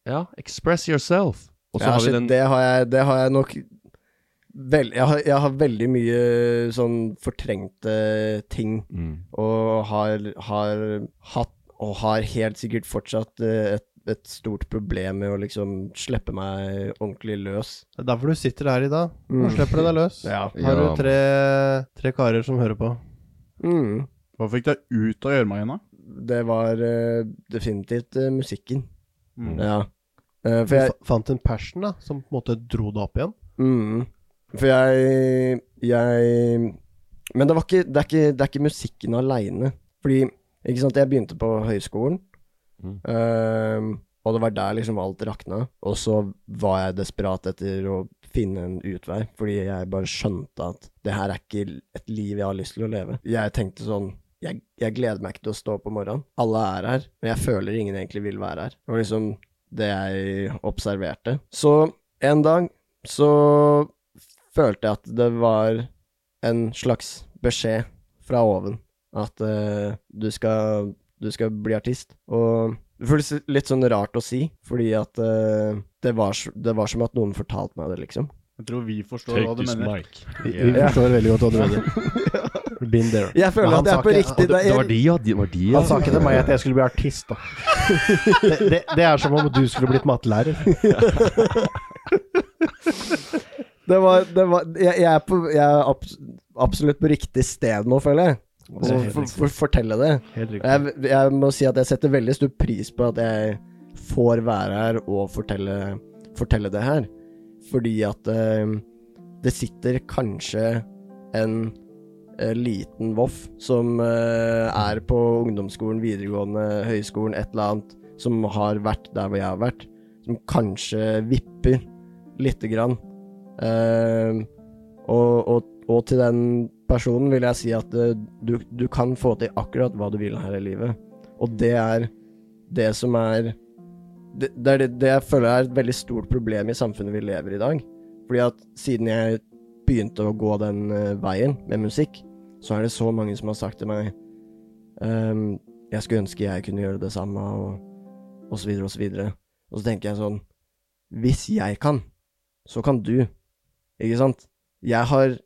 [SPEAKER 1] Ja, express yourself. Og så
[SPEAKER 2] ja,
[SPEAKER 1] har vi
[SPEAKER 2] shit,
[SPEAKER 1] den
[SPEAKER 2] det, har jeg, det har jeg nok vel, jeg, har, jeg har veldig mye sånn fortrengte ting,
[SPEAKER 1] Mm.
[SPEAKER 2] og har, har hatt, og har helt sikkert fortsatt eh, et, et stort problem med å liksom slippe meg ordentlig løs.
[SPEAKER 5] Det er derfor du sitter her i dag. Nå slipper du deg løs. Har du
[SPEAKER 1] Ja.
[SPEAKER 5] tre, tre karer som hører på?
[SPEAKER 2] Mm.
[SPEAKER 3] Hva fikk deg ut av gjørma?
[SPEAKER 2] Det var eh, definitivt eh, musikken. Ja. Eh, for
[SPEAKER 5] Du
[SPEAKER 2] jeg
[SPEAKER 5] fa- fant en passion da, som på en måte dro deg opp igjen?
[SPEAKER 2] Mm. For jeg, jeg Men det, var ikke, det, er ikke, det er ikke musikken aleine. Fordi ikke sant, jeg begynte på høyskolen, ehm, og det var der liksom alt rakna. Og så var jeg desperat etter å finne en utvei, fordi jeg bare skjønte at det her er ikke et liv jeg har lyst til å leve. Jeg tenkte sånn jeg, jeg gleder meg ikke til å stå opp om morgenen. Alle er her, men jeg føler ingen egentlig vil være her. Det var liksom det jeg observerte. Så en dag så følte jeg at det var en slags beskjed fra oven at eh, du, skal, du skal bli artist. Og det føles litt sånn rart å si, fordi at eh, det, var, s- det var som at noen fortalte meg det, liksom.
[SPEAKER 3] Jeg tror vi forstår
[SPEAKER 6] Take
[SPEAKER 3] hva du
[SPEAKER 6] this
[SPEAKER 3] mener.
[SPEAKER 6] mic.
[SPEAKER 5] Vi, vi forstår veldig godt hva du mener. Been there.
[SPEAKER 2] Jeg føler
[SPEAKER 5] Men
[SPEAKER 2] at jeg
[SPEAKER 5] han
[SPEAKER 2] er på
[SPEAKER 5] sa ikke-
[SPEAKER 2] riktig
[SPEAKER 1] Det var de, ja. De, var de, ja.
[SPEAKER 5] Han sa ikke til meg at jeg skulle bli artist, da. Det, det, det er som om du skulle blitt mattelærer.
[SPEAKER 2] Det var, det var jeg, jeg er, på, jeg er abs absolutt på riktig sted nå, føler jeg.
[SPEAKER 5] Det er
[SPEAKER 2] og
[SPEAKER 5] helt
[SPEAKER 2] for,
[SPEAKER 5] riktig.
[SPEAKER 2] for, fortelle det.
[SPEAKER 5] Helt riktig.
[SPEAKER 2] Jeg, jeg må si at jeg setter veldig stor pris på at jeg får være her og fortelle, fortelle det her. Fordi at eh, det sitter kanskje en eh, liten voff som eh, er på ungdomsskolen, videregående, høyskolen, et eller annet, som har vært der hvor jeg har vært, som kanskje vipper lite grann. Eh, og, og, og til den personen vil jeg si at eh, du, du kan få til akkurat hva du vil her i livet. Og det er det som er det, det er det, det jeg føler er et veldig stort problem i samfunnet vi lever i i dag. Fordi at siden jeg begynte å gå den eh, veien med musikk, så er det så mange som har sagt til meg ehm, Jeg skulle ønske jeg kunne gjøre det samme, og, og så videre og så videre. Og så tenker jeg sånn Hvis jeg kan, så kan du. Ikke sant? Jeg har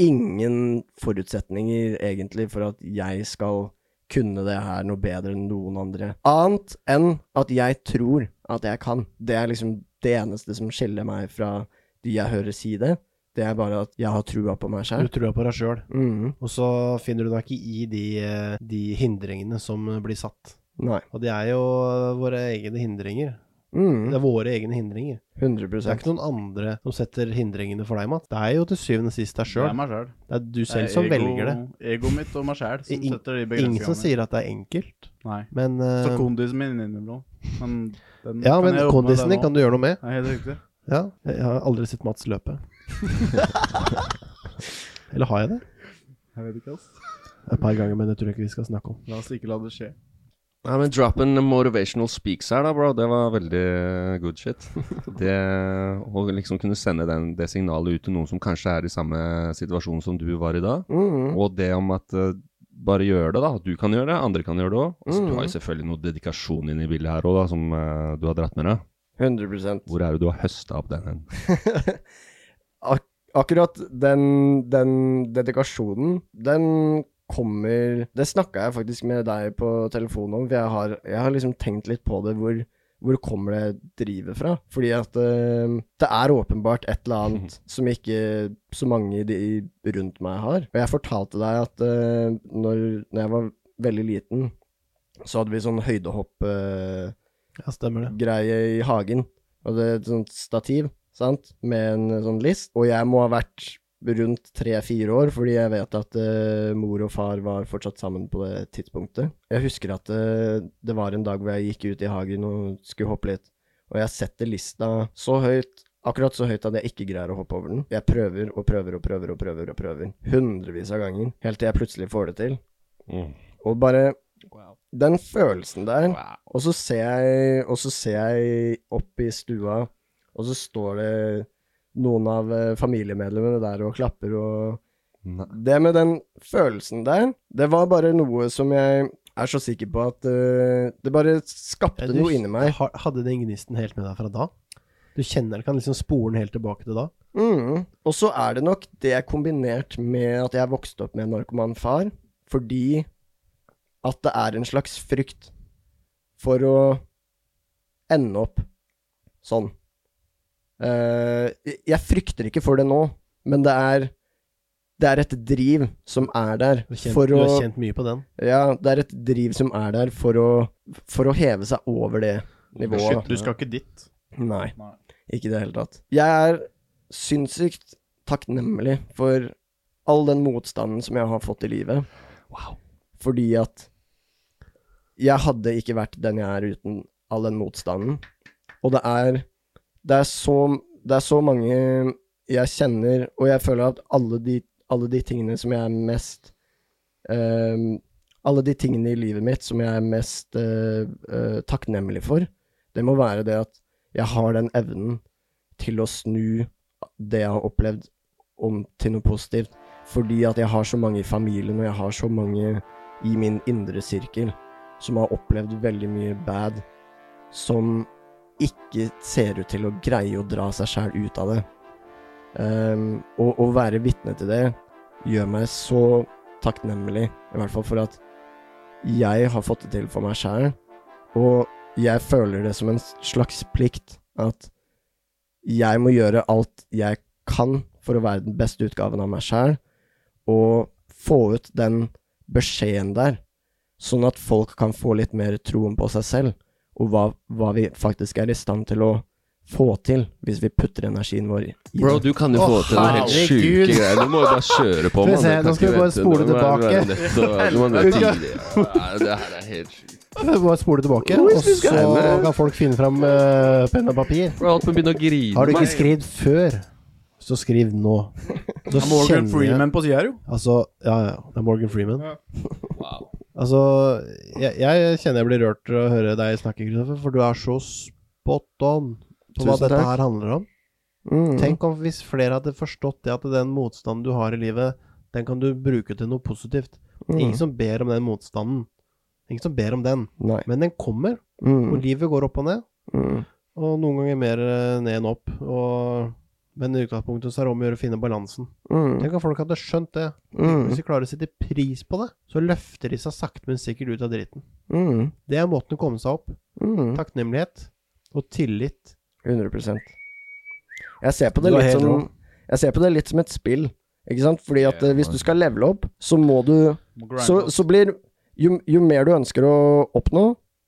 [SPEAKER 2] ingen forutsetninger egentlig for at jeg skal kunne det her noe bedre enn noen andre. Annet enn at jeg tror at jeg kan. Det er liksom det eneste som skiller meg fra de jeg hører si det. Det er bare at jeg har trua på meg
[SPEAKER 5] Du
[SPEAKER 2] sjæl.
[SPEAKER 5] tror på deg sjøl.
[SPEAKER 2] Mhm.
[SPEAKER 5] Og så finner du deg ikke i de, eh, de hindringene som eh, blir satt.
[SPEAKER 2] Nei.
[SPEAKER 5] Og det er jo våre egne hindringer. Det
[SPEAKER 2] Mhm.
[SPEAKER 5] er våre egne hindringer.
[SPEAKER 2] 100
[SPEAKER 5] Det er ikke noen andre som setter hindringene for deg, Matt. Det er jo til syvende og sist deg
[SPEAKER 3] Det er
[SPEAKER 5] sjøl.
[SPEAKER 3] meg sjøl.
[SPEAKER 5] Det er du selv som velger det.
[SPEAKER 3] Egoet mitt og meg sjæl som
[SPEAKER 5] Ing-
[SPEAKER 3] setter de
[SPEAKER 5] Ingen som
[SPEAKER 3] begrensningene.
[SPEAKER 5] sier at det er enkelt,
[SPEAKER 3] Nei.
[SPEAKER 5] men eh,
[SPEAKER 3] Så kondisen min innimellom. Men den
[SPEAKER 5] Ja, men
[SPEAKER 3] jeg jobbe med
[SPEAKER 5] kondisen din
[SPEAKER 3] den
[SPEAKER 5] kan du gjøre noe med.
[SPEAKER 3] også. Nei, Helt riktig.
[SPEAKER 5] Ja, jeg har aldri sett Mats løpe. Eller har jeg det?
[SPEAKER 3] Jeg vet ikke, ass.
[SPEAKER 5] Et par ganger, men det tror jeg ikke vi skal snakke om.
[SPEAKER 3] La oss ikke la det skje.
[SPEAKER 1] Nei, men drop in motivational speaks her, da, bro. Det var veldig good shit. Det Å liksom kunne sende den, det signalet ut til noen som kanskje er i samme situasjon som du var i da.
[SPEAKER 3] Mm.
[SPEAKER 1] Og det om at eh, bare gjør det, da. At du kan gjøre det, andre kan gjøre det òg. Altså, Du har
[SPEAKER 3] Mm.
[SPEAKER 1] jo selvfølgelig noe dedikasjon inn i bildet her òg, da, som eh, du har dratt med deg.
[SPEAKER 2] 100
[SPEAKER 1] Hvor er det du har høsta opp den hen?
[SPEAKER 2] Ak akkurat den, den dedikasjonen, den kommer Det snakka jeg faktisk med deg på telefonen om, for jeg har, jeg har liksom tenkt litt på det. Hvor, hvor kommer det drivet fra? Fordi at eh, det er åpenbart et eller annet som ikke så mange i de rundt meg har. Og jeg fortalte deg at eh, når, når jeg var veldig liten, så hadde vi sånn høydehopp... eh,
[SPEAKER 5] Ja, stemmer det.
[SPEAKER 2] greie i hagen. Og det er et sånt stativ, sant, med en sånn list. Og jeg må ha vært rundt tre-fire år, fordi jeg vet at eh, mor og far var fortsatt sammen på det tidspunktet. Jeg husker at eh, det var en dag hvor jeg gikk ut i hagen og skulle hoppe litt. Og jeg setter lista så høyt, akkurat så høyt at jeg ikke greier å hoppe over den. Jeg prøver og prøver og prøver og prøver og prøver. Hundrevis av ganger. Helt til jeg plutselig får det til.
[SPEAKER 1] Mm.
[SPEAKER 2] Og bare Den følelsen der. Og, så ser jeg, og så ser jeg opp i stua, og så står det noen av eh, familiemedlemmene der og klapper og
[SPEAKER 1] Nei.
[SPEAKER 2] Det med den følelsen der, det var bare noe som jeg er så sikker på at eh, Det bare skapte
[SPEAKER 5] Eh, Du
[SPEAKER 2] noe inni meg.
[SPEAKER 5] har- Hadde den gnisten helt med deg fra da? Du kjenner den, kan liksom spore den helt tilbake til da?
[SPEAKER 2] Mm. Og så er det nok det kombinert med at jeg vokste opp med en narkoman far, fordi at det er en slags frykt for å ende opp sånn. Eh, jeg frykter ikke for det nå, men det er, det er et driv som er der
[SPEAKER 5] Du har kjent,
[SPEAKER 2] for
[SPEAKER 5] du
[SPEAKER 2] å
[SPEAKER 5] har kjent mye på den?
[SPEAKER 2] Ja, det er et driv som er der for å, for å heve seg over det nivået.
[SPEAKER 3] Shit, Du skal ikke dit.
[SPEAKER 2] Nei,
[SPEAKER 3] Nei.
[SPEAKER 2] ikke i det hele tatt. Jeg er sinnssykt takknemlig for all den motstanden som jeg har fått i livet. Fordi at jeg hadde ikke vært den jeg er uten all den motstanden. Og det er Det er så, det er så mange jeg kjenner, og jeg føler at alle de, alle de tingene som jeg er mest ehm, Alle de tingene i livet mitt som jeg er mest eh, eh, takknemlig for, det må være det at jeg har den evnen til å snu det jeg har opplevd, om til noe positivt. Fordi at jeg har så mange i familien, og jeg har så mange i min indre sirkel som har opplevd veldig mye bad, som ikke ser ut til å greie å dra seg sjæl ut av det. Ehm, og å være vitne til det gjør meg så takknemlig, i hvert fall for at jeg har fått det til for meg sjæl, og jeg føler det som en slags plikt at jeg må gjøre alt jeg kan for å være den beste utgaven av meg sjæl, og få ut den beskjeden der, sånn at folk kan få litt mer troen på seg selv, og hva, hva vi faktisk er i stand til å få til hvis vi putter energien vår i i
[SPEAKER 1] Bro,
[SPEAKER 2] det.
[SPEAKER 1] du kan jo
[SPEAKER 3] Å,
[SPEAKER 1] få til noen helt
[SPEAKER 3] herregud.
[SPEAKER 1] sjuke greier. Du må jo bare kjøre på.
[SPEAKER 3] Skal vi
[SPEAKER 1] mann.
[SPEAKER 3] se,
[SPEAKER 1] Det kan
[SPEAKER 3] nå skal vi
[SPEAKER 1] ikke
[SPEAKER 3] bare
[SPEAKER 1] vente.
[SPEAKER 3] spole
[SPEAKER 1] Du må være
[SPEAKER 3] tilbake.
[SPEAKER 1] nødt til å- Du må være tidlig. Ja, Det her er helt sjukt.
[SPEAKER 5] Bare spole tilbake,
[SPEAKER 1] Hvor
[SPEAKER 5] og så
[SPEAKER 1] skal-
[SPEAKER 5] kan folk finne fram eh, penn og papir.
[SPEAKER 1] Bro, alt må begynne å grine.
[SPEAKER 5] Har du
[SPEAKER 1] mann.
[SPEAKER 5] ikke skrevet før, så skriv nå. Så
[SPEAKER 3] Morgan
[SPEAKER 5] kjenner jeg
[SPEAKER 3] Freeman på sida her, jo.
[SPEAKER 5] Altså, ja, ja. Det er Morgan Freeman.
[SPEAKER 1] Wow.
[SPEAKER 5] Altså, jeg, jeg kjenner jeg blir rørt av å høre deg snakke, Kristoffer, for du er så spot on på hva
[SPEAKER 2] Tusen
[SPEAKER 5] dette
[SPEAKER 2] takk.
[SPEAKER 5] her handler om.
[SPEAKER 2] Mm.
[SPEAKER 5] Tenk om hvis flere hadde forstått det at den motstanden du har i livet, den kan du bruke til noe positivt. Ingen som ber om den motstanden. Ingen som ber om den.
[SPEAKER 2] Nei.
[SPEAKER 5] Men den kommer,
[SPEAKER 2] Mm.
[SPEAKER 5] og livet går opp og ned.
[SPEAKER 2] Mm.
[SPEAKER 5] Og noen ganger mer eh, ned enn opp. Og... Men i utgangspunktet så er det om å gjøre å finne balansen.
[SPEAKER 2] Mm.
[SPEAKER 5] Tenk om folk hadde skjønt det.
[SPEAKER 2] Mm.
[SPEAKER 5] Hvis de klarer å sette pris på det, så løfter de seg sakte, men sikkert ut av dritten.
[SPEAKER 2] Mm.
[SPEAKER 5] Det er måten å komme seg opp.
[SPEAKER 2] Mm.
[SPEAKER 5] Takknemlighet og tillit.
[SPEAKER 2] 100 Jeg ser på
[SPEAKER 5] Du
[SPEAKER 2] det
[SPEAKER 5] er
[SPEAKER 2] litt
[SPEAKER 5] helt
[SPEAKER 2] som
[SPEAKER 5] rå.
[SPEAKER 2] Jeg ser på det litt som et spill, ikke sant? Fordi at eh, hvis du skal levele opp, så må du Så, så blir jo, jo mer du ønsker å oppnå,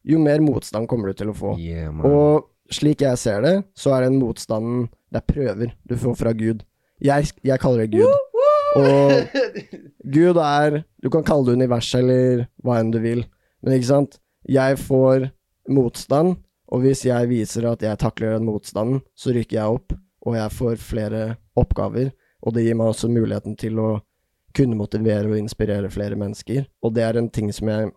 [SPEAKER 2] jo mer motstand kommer du til å få.
[SPEAKER 1] Yeah, man.
[SPEAKER 2] Og slik jeg ser det, så er den motstanden Det er prøver du får fra Gud. Jeg, jeg kaller det Gud. Og Gud er Du kan kalle det universet eller hva enn du vil, men ikke sant? Jeg får motstand, og hvis jeg viser at jeg takler den motstanden, så rykker jeg opp, og jeg får flere oppgaver, og det gir meg også muligheten til å kunne motivere og inspirere flere mennesker. Og det er en ting som jeg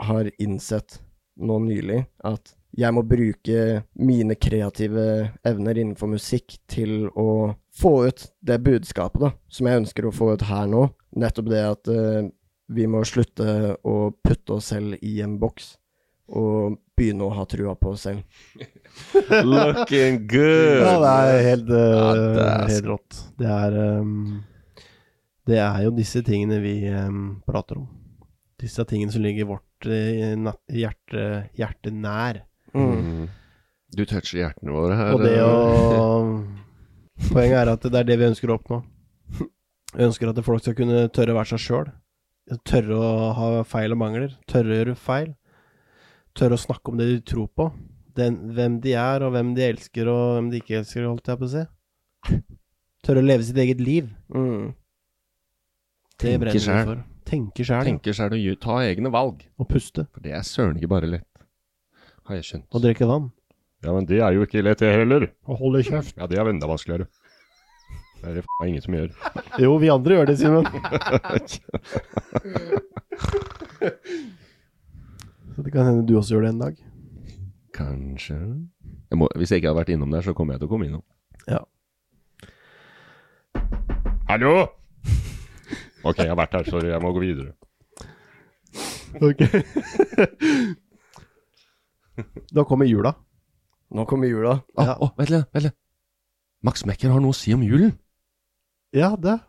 [SPEAKER 2] har innsett nå nylig, at jeg må bruke mine kreative evner innenfor musikk til å få ut det budskapet da, som jeg ønsker å få ut her nå. Nettopp det at eh, vi må slutte å putte oss selv i en boks, og begynne å ha trua på oss selv.
[SPEAKER 1] Looking good.
[SPEAKER 5] Ja, det er helt,
[SPEAKER 1] Ja,
[SPEAKER 5] eh,
[SPEAKER 1] det er
[SPEAKER 5] helt rått. Det er ehm, Det er jo disse tingene vi ehm, prater om. Disse tingene som ligger vårt eh, na- hjerte, hjerte nær.
[SPEAKER 1] Mm. Du toucher hjertene våre her.
[SPEAKER 5] Og det
[SPEAKER 1] eh.
[SPEAKER 5] å Poenget er at det er det vi ønsker å oppnå. Vi ønsker at folk skal kunne tørre å være seg sjøl. Tørre å ha feil og mangler. Tørre å gjøre feil. Tørre å snakke om det de tror på. Den, hvem de er, og hvem de elsker, og hvem de ikke elsker, holdt jeg på å si. Tørre å leve sitt eget liv.
[SPEAKER 2] Mm.
[SPEAKER 5] Det
[SPEAKER 1] Tenke
[SPEAKER 5] brenner vi
[SPEAKER 1] selv.
[SPEAKER 5] for. Tenke sjæl.
[SPEAKER 1] Tenker selv og gjør- ta egne valg.
[SPEAKER 5] Og puste.
[SPEAKER 1] For det er søren ikke bare lett. Har jeg skjønt.
[SPEAKER 5] Og drikke vann.
[SPEAKER 6] Ja, men det er jo ikke lett det heller.
[SPEAKER 5] Og holde kjeft.
[SPEAKER 6] Ja, det er enda vanskeligere. Det er det f*** ingen som gjør.
[SPEAKER 5] Jo, vi andre gjør det, Simen. Så det kan hende du også gjør det en dag.
[SPEAKER 1] Kanskje jeg må, Hvis jeg ikke hadde vært innom der, så kommer jeg til å komme innom.
[SPEAKER 5] Ja.
[SPEAKER 6] Hallo! Ok, jeg har vært her, sorry. Jeg må gå videre.
[SPEAKER 5] Ok. da kommer jula.
[SPEAKER 2] Nå kommer jula.
[SPEAKER 1] Å,
[SPEAKER 5] Ja.
[SPEAKER 1] å, vent litt, vent litt. Max Mekker har noe å si om julen.
[SPEAKER 5] Ja, det.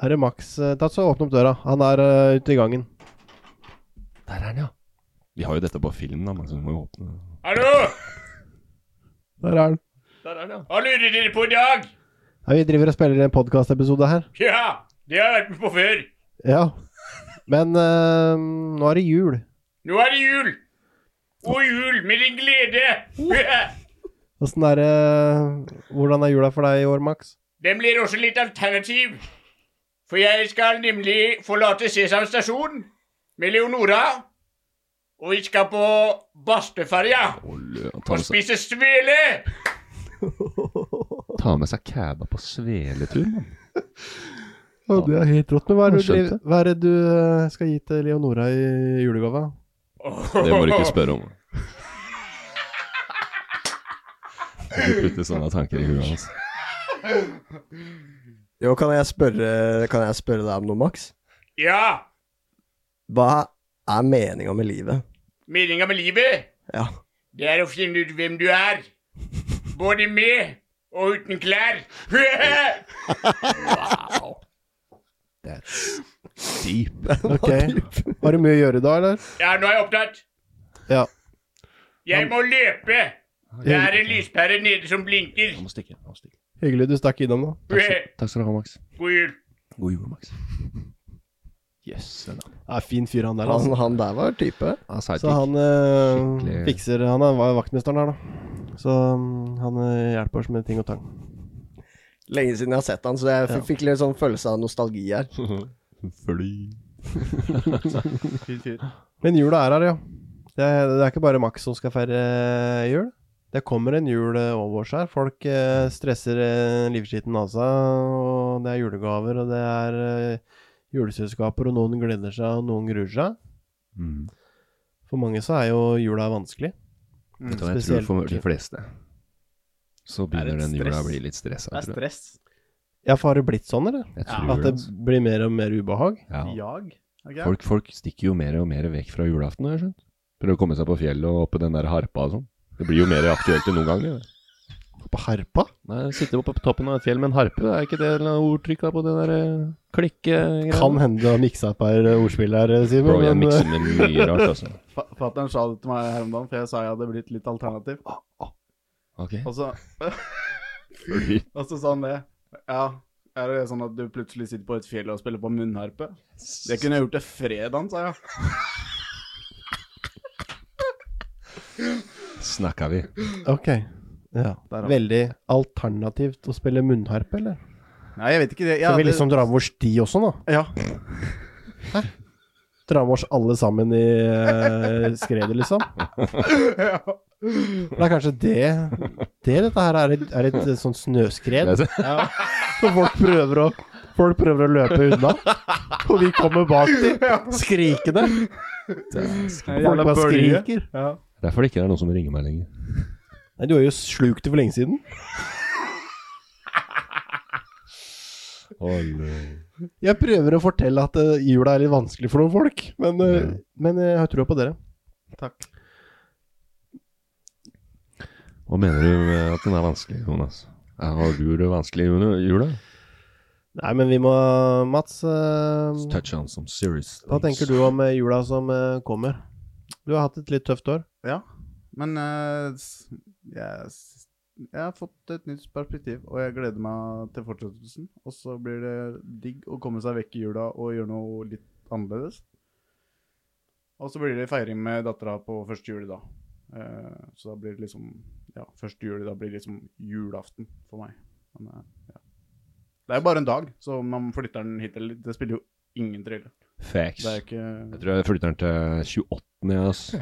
[SPEAKER 5] Her er Max. eh, Ta så Åpne opp døra. Han er eh, ute i gangen.
[SPEAKER 1] Der er han, ja. Vi har jo dette på film, da, men så vi må jo åpne
[SPEAKER 6] Hallo!
[SPEAKER 5] Der er han.
[SPEAKER 1] Der er han, ja.
[SPEAKER 6] Hva lurer dere på i dag?
[SPEAKER 5] Ja, vi driver og spiller en podkastepisode her.
[SPEAKER 6] Ja, det har jeg vært med på før.
[SPEAKER 5] Ja. Men eh, nå er det jul.
[SPEAKER 6] Nå er det jul. Og jul med din glede.
[SPEAKER 5] Åssen er det Hvordan er jula for deg i år, Max?
[SPEAKER 6] Den blir også litt alternativ. For jeg skal nemlig forlate Sesam stasjon med Leonora. Og vi skal på Bastøferja
[SPEAKER 1] Ta,
[SPEAKER 6] og
[SPEAKER 1] med seg,
[SPEAKER 6] spise svele.
[SPEAKER 1] ta med seg kæba på sveletur, mann.
[SPEAKER 5] det er helt rått. Men hva er det du,
[SPEAKER 1] Jeg skjønte.
[SPEAKER 5] driver- hva er det du eh, skal gi til Leonora i julegave?
[SPEAKER 1] Det må du ikke spørre om. Du putter sånne tanker i huet hans.
[SPEAKER 2] Jo, kan jeg spørre, kan jeg spørre deg om noe, Max?
[SPEAKER 6] Ja,
[SPEAKER 2] Hva er meninga med livet?
[SPEAKER 6] meninga med livet,
[SPEAKER 2] Ja.
[SPEAKER 6] det er å finne ut hvem du er. Både med og uten klær.
[SPEAKER 1] That's deep.
[SPEAKER 5] Ok. Har du mye å gjøre da, eller?
[SPEAKER 6] Ja, nå er jeg opptatt.
[SPEAKER 5] Ja.
[SPEAKER 6] Jeg må løpe. Det er en lyspære nede som blinker.
[SPEAKER 1] Han må stikke. Han må stikke.
[SPEAKER 5] Hyggelig du stakk innom, da.
[SPEAKER 1] Takk skal du ha, Max.
[SPEAKER 6] God jul.
[SPEAKER 1] God jul, Max. Jøsse navn.
[SPEAKER 2] Ja, fin fyr, han der.
[SPEAKER 7] Han,
[SPEAKER 2] Altså.
[SPEAKER 7] han der var type.
[SPEAKER 1] Han
[SPEAKER 2] Så han eh,
[SPEAKER 1] Skikkelig-
[SPEAKER 2] fikser Han er- var jo vaktmesteren her, da. Så
[SPEAKER 5] Um,
[SPEAKER 2] mm, han eh, hjelper oss med ting og tang.
[SPEAKER 7] Lenge siden jeg har sett han, så jeg f-
[SPEAKER 2] Ja.
[SPEAKER 7] fikk litt sånn følelse av nostalgi her.
[SPEAKER 1] Fly.
[SPEAKER 3] Fin fyr.
[SPEAKER 2] Men jula er her, ja. Det er, det er ikke bare Max som skal feire eh, jul. Det kommer en jul eh, over oss her. Folk eh, stresser eh, livskiten av seg, og det er julegaver, og det er eh, juleselskaper, og noen gleder seg, og noen gruer seg.
[SPEAKER 1] Mm.
[SPEAKER 2] Mm, For mange så er jo jula vanskelig.
[SPEAKER 1] Vet du hva jeg tror for de fleste? Så
[SPEAKER 3] Er
[SPEAKER 1] begynner
[SPEAKER 3] det
[SPEAKER 1] den jula
[SPEAKER 3] stress?
[SPEAKER 1] å bli litt stressa.
[SPEAKER 3] Det er
[SPEAKER 1] Jeg tror jeg.
[SPEAKER 3] stress.
[SPEAKER 2] Ja, for har det blitt sånn, eller?
[SPEAKER 1] Jeg tror
[SPEAKER 2] At det
[SPEAKER 1] altså.
[SPEAKER 2] blir mer og mer ubehag?
[SPEAKER 1] ja.
[SPEAKER 3] Jag. er gærent.
[SPEAKER 1] folk, folk stikker jo mer og mer vekk fra julaften, har jeg skjønt. Prøver å komme seg på fjellet og oppe den der harpa og sånn. Det blir jo mer aktuelt enn noen gang. det.
[SPEAKER 2] På harpa?
[SPEAKER 1] Nei, Sitte oppe på toppen av et fjell med en harpe, er ikke det ordtrykket på det der eh, klikke-greia?
[SPEAKER 2] Kan hende du har miksa opp her eh, ordspill her, eh, Simen.
[SPEAKER 1] Bro, jeg
[SPEAKER 2] men,
[SPEAKER 1] mikser
[SPEAKER 2] eh,
[SPEAKER 1] med mye rart, altså.
[SPEAKER 3] Fa- Fatteren sa det til meg her om dagen, for jeg sa jeg hadde blitt litt alternativ.
[SPEAKER 1] Ok.
[SPEAKER 3] Og så, og så sa han det. Ja, er det sånn at du plutselig sitter på et fjell og spiller på munnharpe? Det kunne jeg gjort til fredagen, sa jeg.
[SPEAKER 1] Snakka vi.
[SPEAKER 2] eh, Ok. Ja.
[SPEAKER 3] Der, ja.
[SPEAKER 2] Veldig alternativt å spille munnharpe, eller?
[SPEAKER 3] Nei, jeg vet ikke det.
[SPEAKER 2] Skal
[SPEAKER 3] Ja,
[SPEAKER 2] vi
[SPEAKER 3] det-
[SPEAKER 2] liksom dra med oss de også, nå?
[SPEAKER 3] ja.
[SPEAKER 2] Dra med oss alle sammen i eh, skredet, liksom? Det er kanskje det Det dette her er et, er et eh, sånn snøskred.
[SPEAKER 1] Det er
[SPEAKER 2] Ja. Så folk prøver å Folk prøver å løpe unna, og vi kommer bak dem skrikende. Folk
[SPEAKER 3] Jævla
[SPEAKER 2] bare
[SPEAKER 3] bølge.
[SPEAKER 2] skriker.
[SPEAKER 3] Ja.
[SPEAKER 1] Derfor det ikke er noen som ringer meg lenger.
[SPEAKER 2] Nei, du har jo slukt det for lenge siden. Jeg prøver å fortelle at eh, jula er litt vanskelig for noen folk, men, eh, men jeg har trua på dere.
[SPEAKER 3] Takk.
[SPEAKER 1] Hva mener du med at den er vanskelig, Jonas? Er- Har du det vanskelig under jula?
[SPEAKER 2] Nei, men vi må Mats, eh,
[SPEAKER 1] Touch on some serious
[SPEAKER 2] hva tenker du om eh, jula som eh, kommer? Du har hatt et litt tøft år.
[SPEAKER 3] Ja. Men eh, s- jeg, s- jeg har fått et nytt perspektiv, og jeg gleder meg til fortsettelsen. Og så blir det digg å komme seg vekk i jula og gjøre noe litt annerledes. Og så blir det feiring med dattera på første juli, da. Eh, så da blir det liksom Ja, første juli da blir det liksom julaften for meg. Men, eh, ja. Det er jo bare en dag, så om man flytter den hit eller dit, det spiller jo ingen trille.
[SPEAKER 1] Facts.
[SPEAKER 3] Det er ikke
[SPEAKER 1] Jeg tror jeg flytter den til 28. Ja, ass.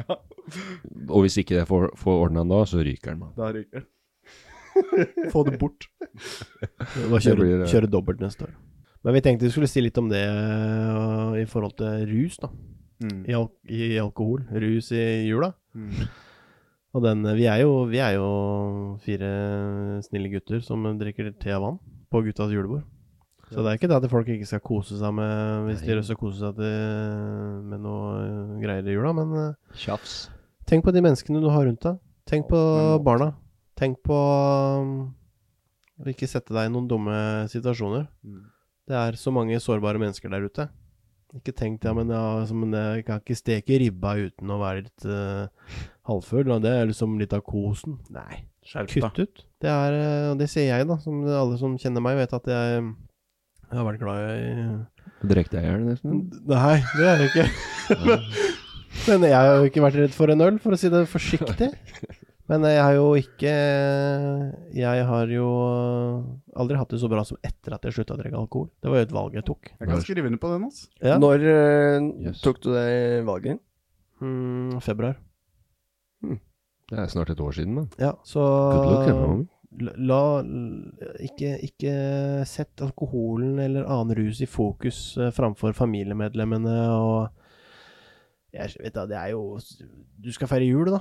[SPEAKER 1] Og hvis ikke jeg får, får ordna den da, så ryker den. mann.
[SPEAKER 3] Da ryker det.
[SPEAKER 2] Få det bort. Bare
[SPEAKER 1] Det blir,
[SPEAKER 2] kjøre,
[SPEAKER 1] eh,
[SPEAKER 2] kjøre dobbelt neste år. Men vi tenkte vi skulle si litt om det eh, i forhold til rus, da.
[SPEAKER 3] Mm.
[SPEAKER 2] I, al i alkohol. Rus i jula.
[SPEAKER 1] Mm.
[SPEAKER 2] Og den, eh, vi, er jo, vi er jo fire snille gutter som drikker te og vann på guttas julebord. Så det er ikke det at folk ikke skal kose seg med hvis de har lyst til å kose seg til, med noe eh, greier i jula, men eh,
[SPEAKER 1] Tjafs.
[SPEAKER 2] tenk på de menneskene du har rundt deg. Tenk på
[SPEAKER 3] men nå-
[SPEAKER 2] barna. Tenk på um, å ikke sette deg i noen dumme situasjoner.
[SPEAKER 3] Mm.
[SPEAKER 2] Det er så mange sårbare mennesker der ute. Ikke tenk ja, altså, men ja, som en- jeg kan ikke steke ribba uten å være litt eh, halvfull. og Det er liksom litt av kosen. Nei,
[SPEAKER 3] Skjerp deg.
[SPEAKER 2] kutt ut. Det er, eh, og det sier jeg, da. Som alle som kjenner meg, vet at jeg, jeg har vært glad i
[SPEAKER 1] Drekk deg i hjel,
[SPEAKER 2] Mm.
[SPEAKER 1] nesten.
[SPEAKER 2] Nei, det er det ikke. Men jeg har jo ikke vært redd for en øl, for å si det forsiktig. Men jeg har jo ikke Jeg har jo aldri hatt det så bra som etter at jeg slutta å drikke alkohol. Det var jo et valg jeg tok.
[SPEAKER 3] Jeg kan skrive under på den, altså.
[SPEAKER 2] Ja.
[SPEAKER 7] Når eh,
[SPEAKER 1] Yes.
[SPEAKER 7] tok du det valget?
[SPEAKER 2] Mm, februar.
[SPEAKER 1] Det er snart et år siden, mann.
[SPEAKER 2] Ja, så
[SPEAKER 1] Good
[SPEAKER 2] Ah.
[SPEAKER 1] luck, ja, homie.
[SPEAKER 2] la, la- ikke, ikke sett alkoholen eller annen rus i fokus eh, framfor familiemedlemmene og jeg vet da, det er jo Du skal feire jul, da.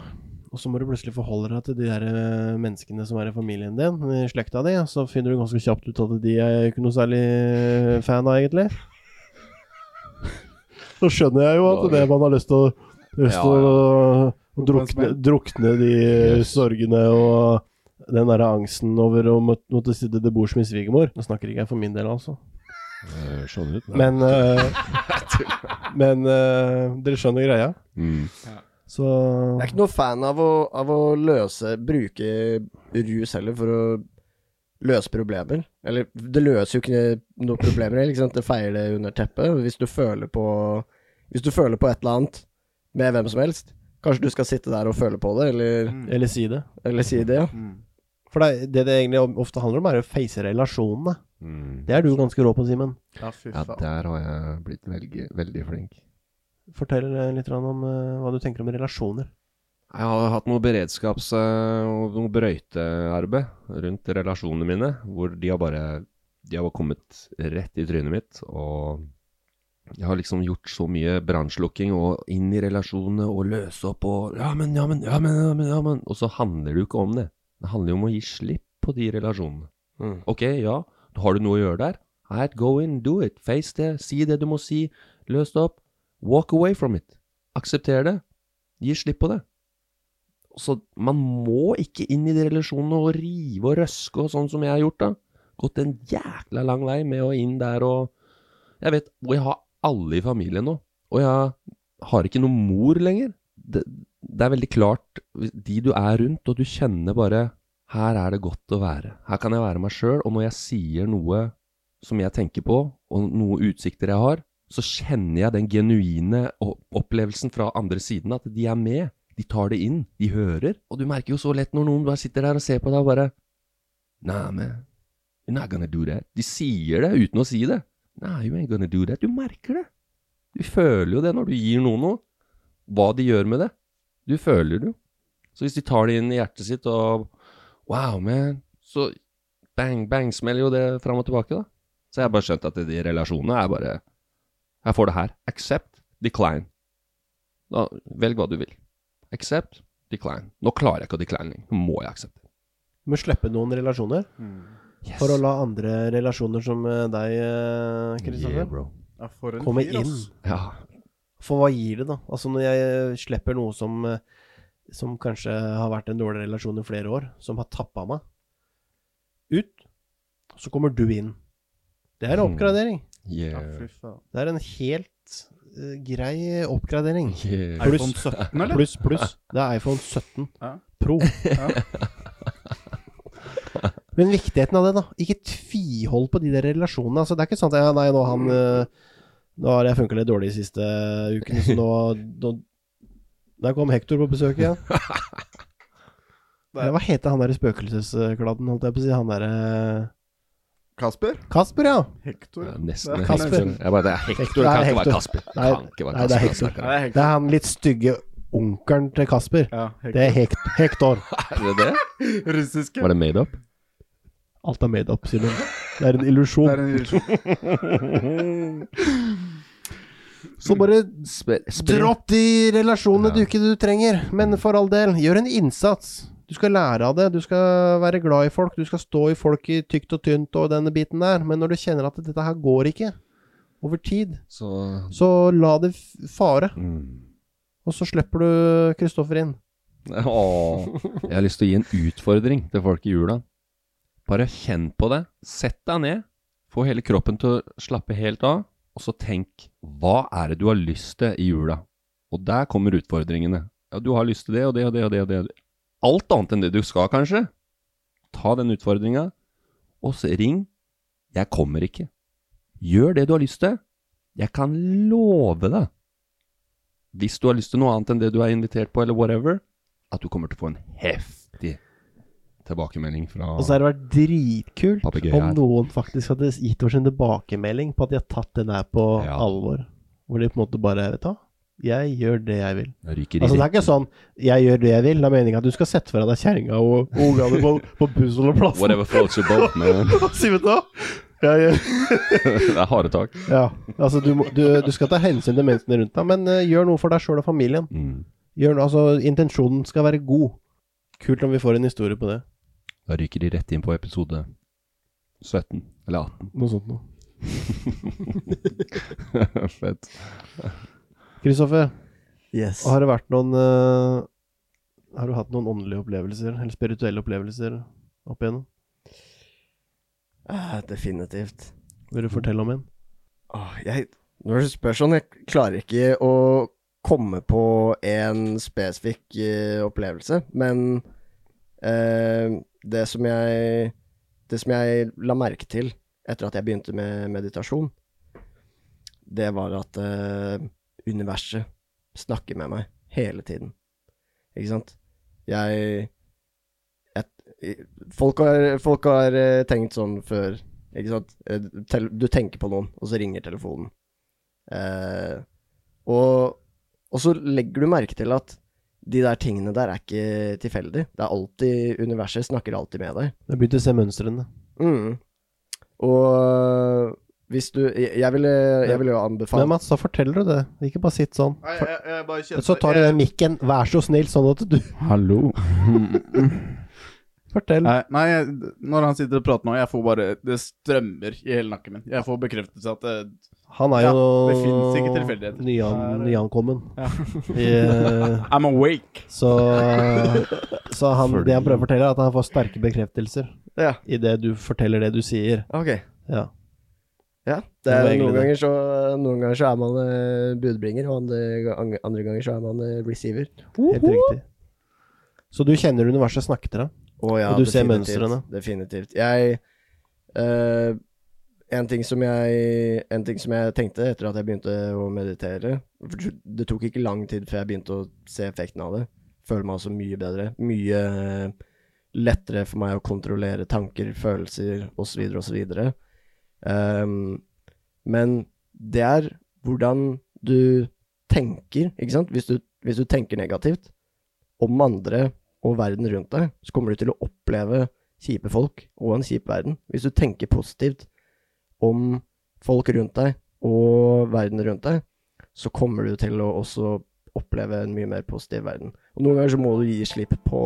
[SPEAKER 2] Og så må du plutselig forholde deg til de der eh, menneskene som er i familien din, i slekta di. og Så finner du ganske kjapt ut at de er jeg ikke noe særlig eh, fan av, egentlig. Så skjønner jeg jo at det man har lyst til å, lyst
[SPEAKER 1] Ja,
[SPEAKER 2] til å, å drukne,
[SPEAKER 3] Oppmerksomhet.
[SPEAKER 2] drukne de
[SPEAKER 1] Yes.
[SPEAKER 2] sorgene og den der angsten over å må- måtte sitte til bords med svigermor. Nå snakker ikke jeg for min del, altså.
[SPEAKER 1] Eh, Sånn ut.
[SPEAKER 2] Men, eh, men eh, dere skjønner greia.
[SPEAKER 1] Mm.
[SPEAKER 2] Så
[SPEAKER 7] Jeg er ikke noe fan av å, av å løse, bruke rus heller for å
[SPEAKER 8] løse problemer. Eller det løser jo ikke noen problemer, ikke sant? det feier det under teppet. Hvis du føler på Hvis du føler på et eller annet med hvem som helst, kanskje du skal sitte der og føle på det, eller,
[SPEAKER 2] Eller si det.
[SPEAKER 8] eller si det, ja.
[SPEAKER 2] For det, det det egentlig ofte handler om, er å face relasjonene. Det er du ganske rå på, Simen.
[SPEAKER 3] Ja, fy
[SPEAKER 1] Mm. Ja,
[SPEAKER 3] faen.
[SPEAKER 1] der har jeg blitt veldig, veldig flink.
[SPEAKER 2] Fortell eh, litt grann om eh, hva du tenker om relasjoner.
[SPEAKER 1] Jeg har hatt noe beredskaps- eh, og noe brøytearbeid rundt relasjonene mine, hvor de har bare de har bare kommet rett i trynet mitt. Og jeg har liksom gjort så mye brannslukking og inn i relasjonene og løse opp og ja, men, ja, men, ja, men, ja, men, ja, men. Og så handler det jo ikke om det. Det handler jo om å gi slipp på de relasjonene. Ok, ja, har du noe å gjøre der? Right, go in, do it. Face det. Si det du må si. Løs det opp. Walk away from it. Aksepter det. Gi slipp på det. Så man må ikke inn i de relasjonene og rive og røske og sånn som jeg har gjort, da. Gått en jækla lang vei med å inn der og Jeg vet Og jeg har alle i familien nå. Og jeg har ikke noen mor lenger. Det, det er veldig klart hvis- De du er rundt, og du kjenner bare Her er det godt å være. Her kan jeg være meg sjøl. Og når jeg sier noe som jeg tenker på, og noen utsikter jeg har, så kjenner jeg den genuine o- opplevelsen fra andre siden, at de er med. De tar det inn, de hører. Og du merker jo så lett når noen bare sitter der og ser på deg og bare Nah, man. You're not gonna do that. De sier det uten å si det. Nah, you ain't gonna do that. Du merker det. Du føler jo det når du gir noen noe. Hva de gjør med det. Du føler det jo. Så hvis de tar det inn i hjertet sitt og Wow, man. Så bang, bang smeller jo det fram og tilbake, da. Så jeg har bare skjønt at de relasjonene er bare Jeg får det her. Accept. Decline. Da, velg hva du vil. Accept. Decline. Nå klarer jeg ikke å decline lenger. Nå må jeg aksepte.
[SPEAKER 2] Du må slippe noen relasjoner for å la andre relasjoner som eh, deg, eh, Kristoffer,
[SPEAKER 3] Ja, for en
[SPEAKER 2] komme
[SPEAKER 3] fyr,
[SPEAKER 2] inn.
[SPEAKER 3] ass.
[SPEAKER 1] Ja.
[SPEAKER 2] For hva gir det, da? Altså, når jeg slipper noe som, eh, som kanskje har vært en dårlig relasjon i flere år, som har tappa meg, ut, så kommer du inn. Det er
[SPEAKER 3] Hmm.
[SPEAKER 2] en
[SPEAKER 1] Mm.
[SPEAKER 2] oppgradering.
[SPEAKER 3] Ja,
[SPEAKER 1] Yeah.
[SPEAKER 3] fy faen.
[SPEAKER 2] Det er en helt eh, grei oppgradering.
[SPEAKER 1] yeah.
[SPEAKER 2] Pluss.
[SPEAKER 3] iPhone 17, eller?
[SPEAKER 2] Pluss, pluss. Det er iPhone 17
[SPEAKER 3] Ja.
[SPEAKER 2] Pro. Men viktigheten av det, da. Ikke tvihold på de der relasjonene. Altså, det er ikke sånn at ja, nei, nå, han, eh, nå har jeg funka litt dårlig de siste ukene, så nå, nå Der kom Hector på besøk igjen. Eller hva heter han der spøkelseskladden, holdt jeg på å si? Han derre
[SPEAKER 3] Kasper?
[SPEAKER 2] Kasper, ja.
[SPEAKER 3] Hector?
[SPEAKER 1] Ja, nesten.
[SPEAKER 3] Det er-
[SPEAKER 2] Kasper.
[SPEAKER 1] Jeg bare, det er Hector,
[SPEAKER 2] Det
[SPEAKER 1] det
[SPEAKER 2] er
[SPEAKER 1] kan ikke være
[SPEAKER 2] Hector.
[SPEAKER 1] Kasper. Det
[SPEAKER 2] Nei,
[SPEAKER 1] kan ikke være
[SPEAKER 2] nei, det er
[SPEAKER 1] Kasper. altså.
[SPEAKER 2] Hector.
[SPEAKER 1] Det
[SPEAKER 3] Ja,
[SPEAKER 1] er,
[SPEAKER 2] Det er han litt stygge onkelen til Kasper.
[SPEAKER 3] Ja, Hector.
[SPEAKER 2] Det er Hek- Hector.
[SPEAKER 1] altså. er det det?
[SPEAKER 3] Russiske.
[SPEAKER 1] Var det made up?
[SPEAKER 2] Alt er made up, Simen. Det er en illusjon.
[SPEAKER 3] Det er en illusjon.
[SPEAKER 2] Så bare
[SPEAKER 1] Spe- spre-
[SPEAKER 2] dropp de relasjonene du ikke du trenger. Men for all del, gjør en innsats. Du skal lære av det. Du skal være glad i folk. Du skal stå i folk i tykt og tynt og denne biten der. Men når du kjenner at dette her går ikke over tid,
[SPEAKER 1] Så
[SPEAKER 2] så la det f- fare.
[SPEAKER 1] mm.
[SPEAKER 2] Og så slipper du Kristoffer inn.
[SPEAKER 1] Åh. Jeg har lyst til å gi en utfordring til folk i jula. Bare kjenn på det. Sett deg ned. Få hele kroppen til å slappe helt av. Og så tenk hva er det du har lyst til i jula? Og der kommer utfordringene. Ja, du har lyst til det og det og det og det. og det. og det. Alt annet enn det du skal, kanskje. Ta den utfordringa, og så ring. Jeg kommer ikke. Gjør det du har lyst til. Jeg kan love deg. Hvis du har lyst til noe annet enn det du er invitert på, eller whatever, at du kommer til å få en heftig tilbakemelding fra
[SPEAKER 2] Og så har det vært dritkult
[SPEAKER 1] Papegøye
[SPEAKER 2] om
[SPEAKER 1] her.
[SPEAKER 2] noen faktisk hadde gitt oss en tilbakemelding på at de har tatt den der på
[SPEAKER 1] Ja.
[SPEAKER 2] alvor. Hvor de på en måte bare Vet du hva, jeg gjør det jeg vil.
[SPEAKER 1] Ryker i
[SPEAKER 2] Altså, det er ikke sånn 'jeg gjør det jeg vil'. Det er meningen at du skal sette fra deg kjerringa og og ungene på, på bussholdeplassen.
[SPEAKER 1] Whatever floats your boat, man.
[SPEAKER 2] Si vet du hva? Jeg gjør-
[SPEAKER 1] det er harde tak.
[SPEAKER 2] Ja, altså du, må- du, du skal ta hensyn til menneskene rundt deg, men eh, gjør noe for deg sjøl og familien.
[SPEAKER 1] Mm.
[SPEAKER 2] Gjør noe, altså Intensjonen skal være god. Kult om vi får en historie på det.
[SPEAKER 1] Da ryker de rett inn på episode 17 eller 18.
[SPEAKER 2] Noe sånt noe.
[SPEAKER 1] Fett.
[SPEAKER 2] Kristoffer,
[SPEAKER 8] Yes.
[SPEAKER 2] har det vært noen eh, Har du hatt noen åndelige opplevelser, eller spirituelle opplevelser, opp igjennom?
[SPEAKER 8] Ah, Definitivt.
[SPEAKER 2] Vil du fortelle om en?
[SPEAKER 8] Åh, jeg, når du spør sånn, jeg klarer ikke å komme på en spesifikk eh, opplevelse, men eh, det som jeg
[SPEAKER 2] det som jeg la merke til etter at jeg begynte med meditasjon, det var at eh, universet snakker med meg hele tiden. Ikke sant? Jeg, jeg folk, har, folk har eh, tenkt sånn før, ikke sant? Eh, tel- Du tenker på noen, og så ringer telefonen. Eh, og, og så legger du merke til at de der tingene der er ikke tilfeldig. Det er alltid Universet snakker alltid med deg.
[SPEAKER 5] Jeg begynte å se mønstrene.
[SPEAKER 2] Mm. Og hvis du Jeg, jeg ville jeg ville jo anbefale
[SPEAKER 5] Men Mats, da forteller du det. Ikke bare sitt sånn.
[SPEAKER 3] Nei,
[SPEAKER 5] For,
[SPEAKER 3] jeg, jeg bare kjenner
[SPEAKER 5] så tar du den mikken, vær så snill, sånn at du
[SPEAKER 9] Hallo.
[SPEAKER 5] Fortell.
[SPEAKER 3] Nei, nei, jeg- når han sitter og prater nå, jeg får bare Det strømmer i hele nakken min. Jeg får bekreftelse at eh, det,
[SPEAKER 5] Han er
[SPEAKER 3] Ja,
[SPEAKER 5] jo
[SPEAKER 3] det finnes ikke tilfeldigheter.
[SPEAKER 5] Nyan,
[SPEAKER 3] Her-
[SPEAKER 5] nyankommen. Eh,
[SPEAKER 3] I'm awake!
[SPEAKER 5] så så han, det han prøver å fortelle, er at han får sterke bekreftelser
[SPEAKER 2] Ja,
[SPEAKER 5] i det du forteller det du sier.
[SPEAKER 2] ok.
[SPEAKER 5] Ja.
[SPEAKER 2] Ja,
[SPEAKER 5] Det
[SPEAKER 2] det
[SPEAKER 5] var
[SPEAKER 2] er,
[SPEAKER 5] egentlig
[SPEAKER 2] noen,
[SPEAKER 5] det.
[SPEAKER 2] ganger så, noen ganger så er man eh, budbringer, og andre, andre ganger så er man eh, receiver.
[SPEAKER 5] Helt riktig. Så du kjenner universet snakke til deg?
[SPEAKER 2] Å ja,
[SPEAKER 5] Og du ser
[SPEAKER 2] definitivt,
[SPEAKER 5] mønstrene.
[SPEAKER 2] Definitivt. Jeg eh, en, ting som jeg en ting som jeg tenkte etter at jeg begynte å meditere for Det tok ikke lang tid før jeg begynte å se effekten av det. Føler meg altså mye bedre. Mye eh, lettere for meg å kontrollere tanker, følelser osv. osv. Um, men det er hvordan du tenker, ikke sant? Hvis du, hvis du tenker negativt om andre og verden rundt deg, så kommer du til å oppleve kjipe folk og en kjip verden. Hvis du tenker positivt om folk rundt deg og verden rundt deg, så kommer du til å også oppleve en mye mer positiv verden. Og noen ganger så må du gi slipp på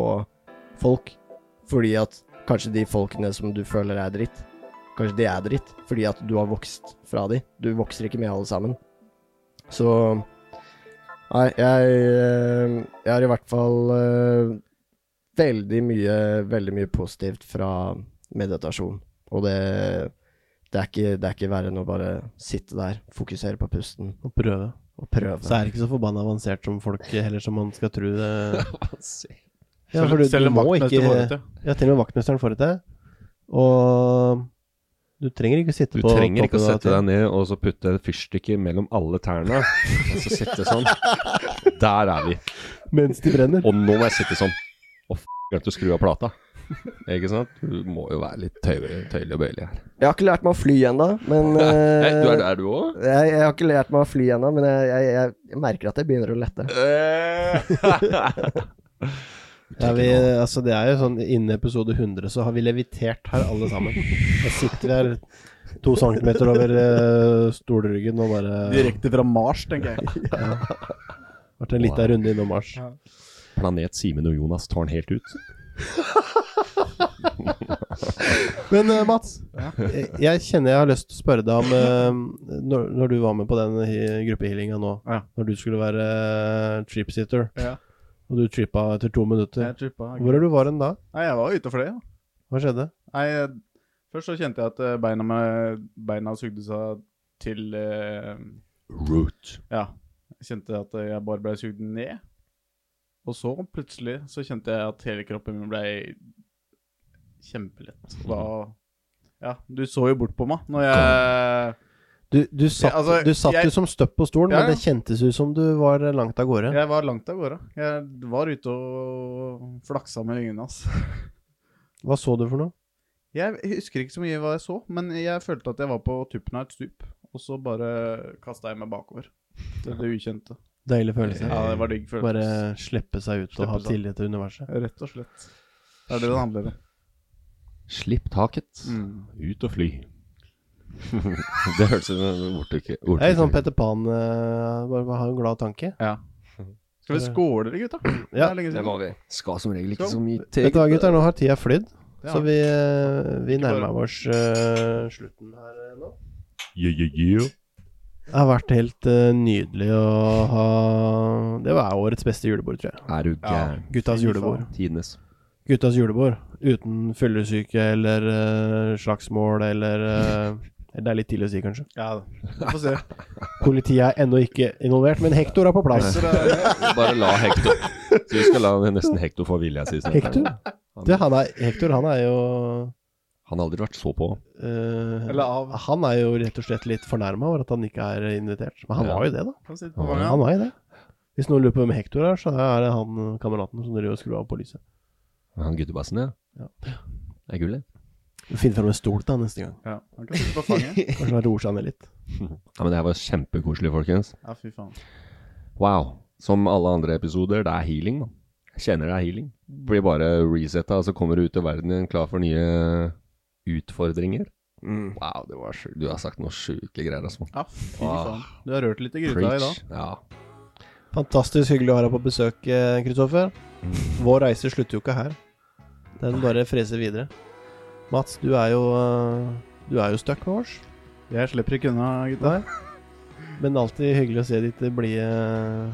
[SPEAKER 2] folk, fordi at kanskje de folkene som du føler er dritt, kanskje de er dritt, fordi at du har vokst fra de. Du vokser ikke med alle sammen. Så Nei, jeg, eh, jeg har i hvert fall eh, veldig mye, veldig mye positivt fra meditasjon. Og det, det, er ikke, det er ikke verre enn å bare sitte der, fokusere på pusten
[SPEAKER 5] Å prøve.
[SPEAKER 2] og prøve.
[SPEAKER 5] Så er det ikke så forbanna avansert som folk heller som man skal tro det ja,
[SPEAKER 3] Selv-
[SPEAKER 5] for du,
[SPEAKER 3] selv
[SPEAKER 5] du
[SPEAKER 3] om
[SPEAKER 5] må
[SPEAKER 3] vaktmester
[SPEAKER 5] ikke
[SPEAKER 3] får det til.
[SPEAKER 5] Ja, til og med vaktmesteren får det til. Og du trenger ikke å sitte
[SPEAKER 1] Du
[SPEAKER 5] på
[SPEAKER 1] trenger ikke å
[SPEAKER 5] toppen av
[SPEAKER 1] sette
[SPEAKER 5] et
[SPEAKER 1] deg ned og så putte et fyrstikke mellom alle tærne. Og så sitte sånn. Der er vi.
[SPEAKER 5] tre mens de brenner.
[SPEAKER 1] Og nå må jeg sitte sånn. Å, f***, glemte å skru av plata. Ikke sant? Du må jo være litt tøyelig, tøyelig og bøyelig her.
[SPEAKER 2] Jeg har ikke lært meg å fly ennå, men
[SPEAKER 1] Hei,
[SPEAKER 2] eh,
[SPEAKER 1] du er der, du òg?
[SPEAKER 2] jeg, jeg har ikke lært meg å fly ennå, men jeg, jeg, jeg, jeg merker at jeg begynner å lette. eh.
[SPEAKER 5] Ja, vi, altså, det er jo sånn innen episode 100 så har vi levitert her alle sammen. Da sitter vi her to centimeter over eh, stolryggen og bare
[SPEAKER 3] Direkte fra Mars, tenker jeg.
[SPEAKER 5] vært en liten runde innom Mars.
[SPEAKER 1] Planet Simen og Jonas tar den helt ut.
[SPEAKER 5] Men eh, Mats, jeg, jeg kjenner jeg har lyst til å spørre deg om eh, når, når du var med på den he- gruppehealinga nå,
[SPEAKER 3] Ja.
[SPEAKER 5] når du skulle være eh, tripsitter,
[SPEAKER 3] Ja.
[SPEAKER 5] og du trippa etter to minutter,
[SPEAKER 3] Jeg trippa.
[SPEAKER 5] hvor er du var hen da?
[SPEAKER 3] Nei, jeg var ute for det, ja.
[SPEAKER 5] Hva skjedde?
[SPEAKER 3] Nei, jeg- først så kjente jeg at eh, beina, med, beina sugde seg til eh,
[SPEAKER 1] Root.
[SPEAKER 3] Ja. Jeg kjente at jeg bare ble sugd ned. Og så plutselig så kjente jeg at hele kroppen min ble kjempelett. Da Ja, du så jo bort på meg når jeg
[SPEAKER 5] Du, du satt,
[SPEAKER 3] Ja, altså,
[SPEAKER 5] du satt
[SPEAKER 3] jeg-
[SPEAKER 5] jo som støpp på stolen,
[SPEAKER 3] Ja, ja.
[SPEAKER 5] men det kjentes ut som du var eh, langt av gårde.
[SPEAKER 3] Jeg var langt av gårde. Jeg var ute og flaksa med vingene hans.
[SPEAKER 5] Hva så du for noe?
[SPEAKER 3] Jeg husker ikke så mye hva jeg så, men jeg følte at jeg var på tuppen av et stup. Og så bare kasta jeg meg bakover. Til det ukjente.
[SPEAKER 5] Deilig følelse.
[SPEAKER 3] Ja, det var digg følelse.
[SPEAKER 5] Bare slippe seg ut og
[SPEAKER 3] Slippe
[SPEAKER 5] ha
[SPEAKER 3] seg.
[SPEAKER 5] tillit til universet.
[SPEAKER 3] Rett og slett. Det er det det handler om.
[SPEAKER 1] Slipp taket. Ut og fly. det hørtes ut som ordtaket.
[SPEAKER 5] Det er litt sånn Peter Pan eh, bare, bare ha en glad tanke.
[SPEAKER 3] Ja. Skal vi skåle, dere, gutta? Det er lenge siden.
[SPEAKER 1] vi. Skal som regel ikke
[SPEAKER 3] Skal.
[SPEAKER 1] så mye til.
[SPEAKER 5] Vet du hva, gutter, nå har tida flydd,
[SPEAKER 3] Ja.
[SPEAKER 5] så vi, eh, vi nærmer
[SPEAKER 3] bare-
[SPEAKER 5] oss eh, slutten her eh, nå.
[SPEAKER 9] Yeah, yeah, yeah.
[SPEAKER 5] Det har vært helt eh, nydelig å ha Det var årets beste julebord, tror jeg.
[SPEAKER 1] Er du gæren?
[SPEAKER 5] Guttas julebord.
[SPEAKER 1] Tidenes.
[SPEAKER 5] Guttas julebord. Uten fyllesyke eller eh, slagsmål eller eh, Det er litt tidlig å si, kanskje.
[SPEAKER 3] Ja, vi får se.
[SPEAKER 5] Politiet er ennå ikke involvert, men Hector er på plass.
[SPEAKER 1] Bare la Hector Så vi skal la nesten Hector få vilja si. sånn.
[SPEAKER 5] Hector? Det, han er, Hector han er jo
[SPEAKER 1] Han har aldri vært så på.
[SPEAKER 2] Eh,
[SPEAKER 3] Eller av.
[SPEAKER 2] Han er jo rett og slett litt fornærma over at han ikke er invitert. Men han
[SPEAKER 1] Ja.
[SPEAKER 2] var jo det, da.
[SPEAKER 3] Han sitter på
[SPEAKER 2] Han,
[SPEAKER 3] fanget.
[SPEAKER 2] Ah, han var jo det. Hvis noen lurer på hvem Hector er, så er det han eh, kameraten som driver og skrur av på lyset.
[SPEAKER 1] Han guttebassen, ja.
[SPEAKER 2] Ja.
[SPEAKER 1] Det er gullet. han.
[SPEAKER 2] Finn fram en stol til han neste gang.
[SPEAKER 3] Ja, han kan sitte på fanget.
[SPEAKER 2] Kanskje han roer seg ned litt.
[SPEAKER 1] Ja, men det her var kjempekoselig, folkens.
[SPEAKER 3] Ja, fy faen.
[SPEAKER 1] Wow. Som alle andre episoder, det er healing, mann. Jeg kjenner det er healing. Blir bare resetta, og så kommer du ut i verden igjen klar for nye utfordringer. Wow, det var sjukt. Du har sagt noe sjuke greier, altså.
[SPEAKER 3] Ja, fy
[SPEAKER 1] Ah.
[SPEAKER 3] faen. Du har rørt litt i gryta i dag.
[SPEAKER 1] Preach. Ja.
[SPEAKER 2] Fantastisk hyggelig å ha deg på besøk, eh, Kristoffer. Vår reise slutter jo ikke her. Den bare freser videre. Mats, du er jo eh, Du er jo stuck med oss.
[SPEAKER 3] Jeg slipper ikke unna, gutta.
[SPEAKER 2] Nei. Men alltid hyggelig å se ditt eh, blide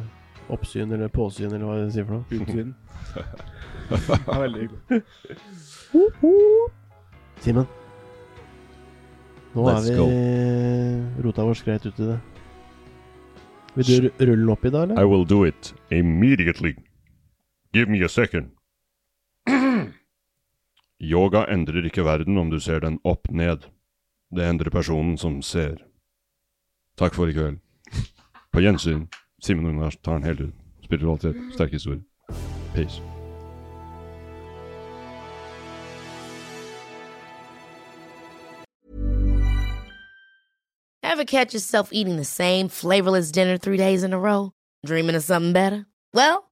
[SPEAKER 2] oppsyn eller påsyn, eller hva du sier for noe.
[SPEAKER 3] Utsyn. Det er veldig hyggelig.
[SPEAKER 2] Simen. Nå er
[SPEAKER 1] Let's
[SPEAKER 2] vi
[SPEAKER 1] go.
[SPEAKER 2] rota vår skreit ut i det. Vil du ru- rulle den opp i dag, eller?
[SPEAKER 10] I will do it immediately. Give me a second. Yoga endrer ikke verden om du ser den opp ned. Det endrer personen som ser. Takk for i kveld. På gjensyn. Simen Unars tar den helt ut. Spiritualitet. Sterk historie. Peace.
[SPEAKER 11] Ever catch yourself eating the same flavorless dinner three days in a row? Dreaming of something better? Well,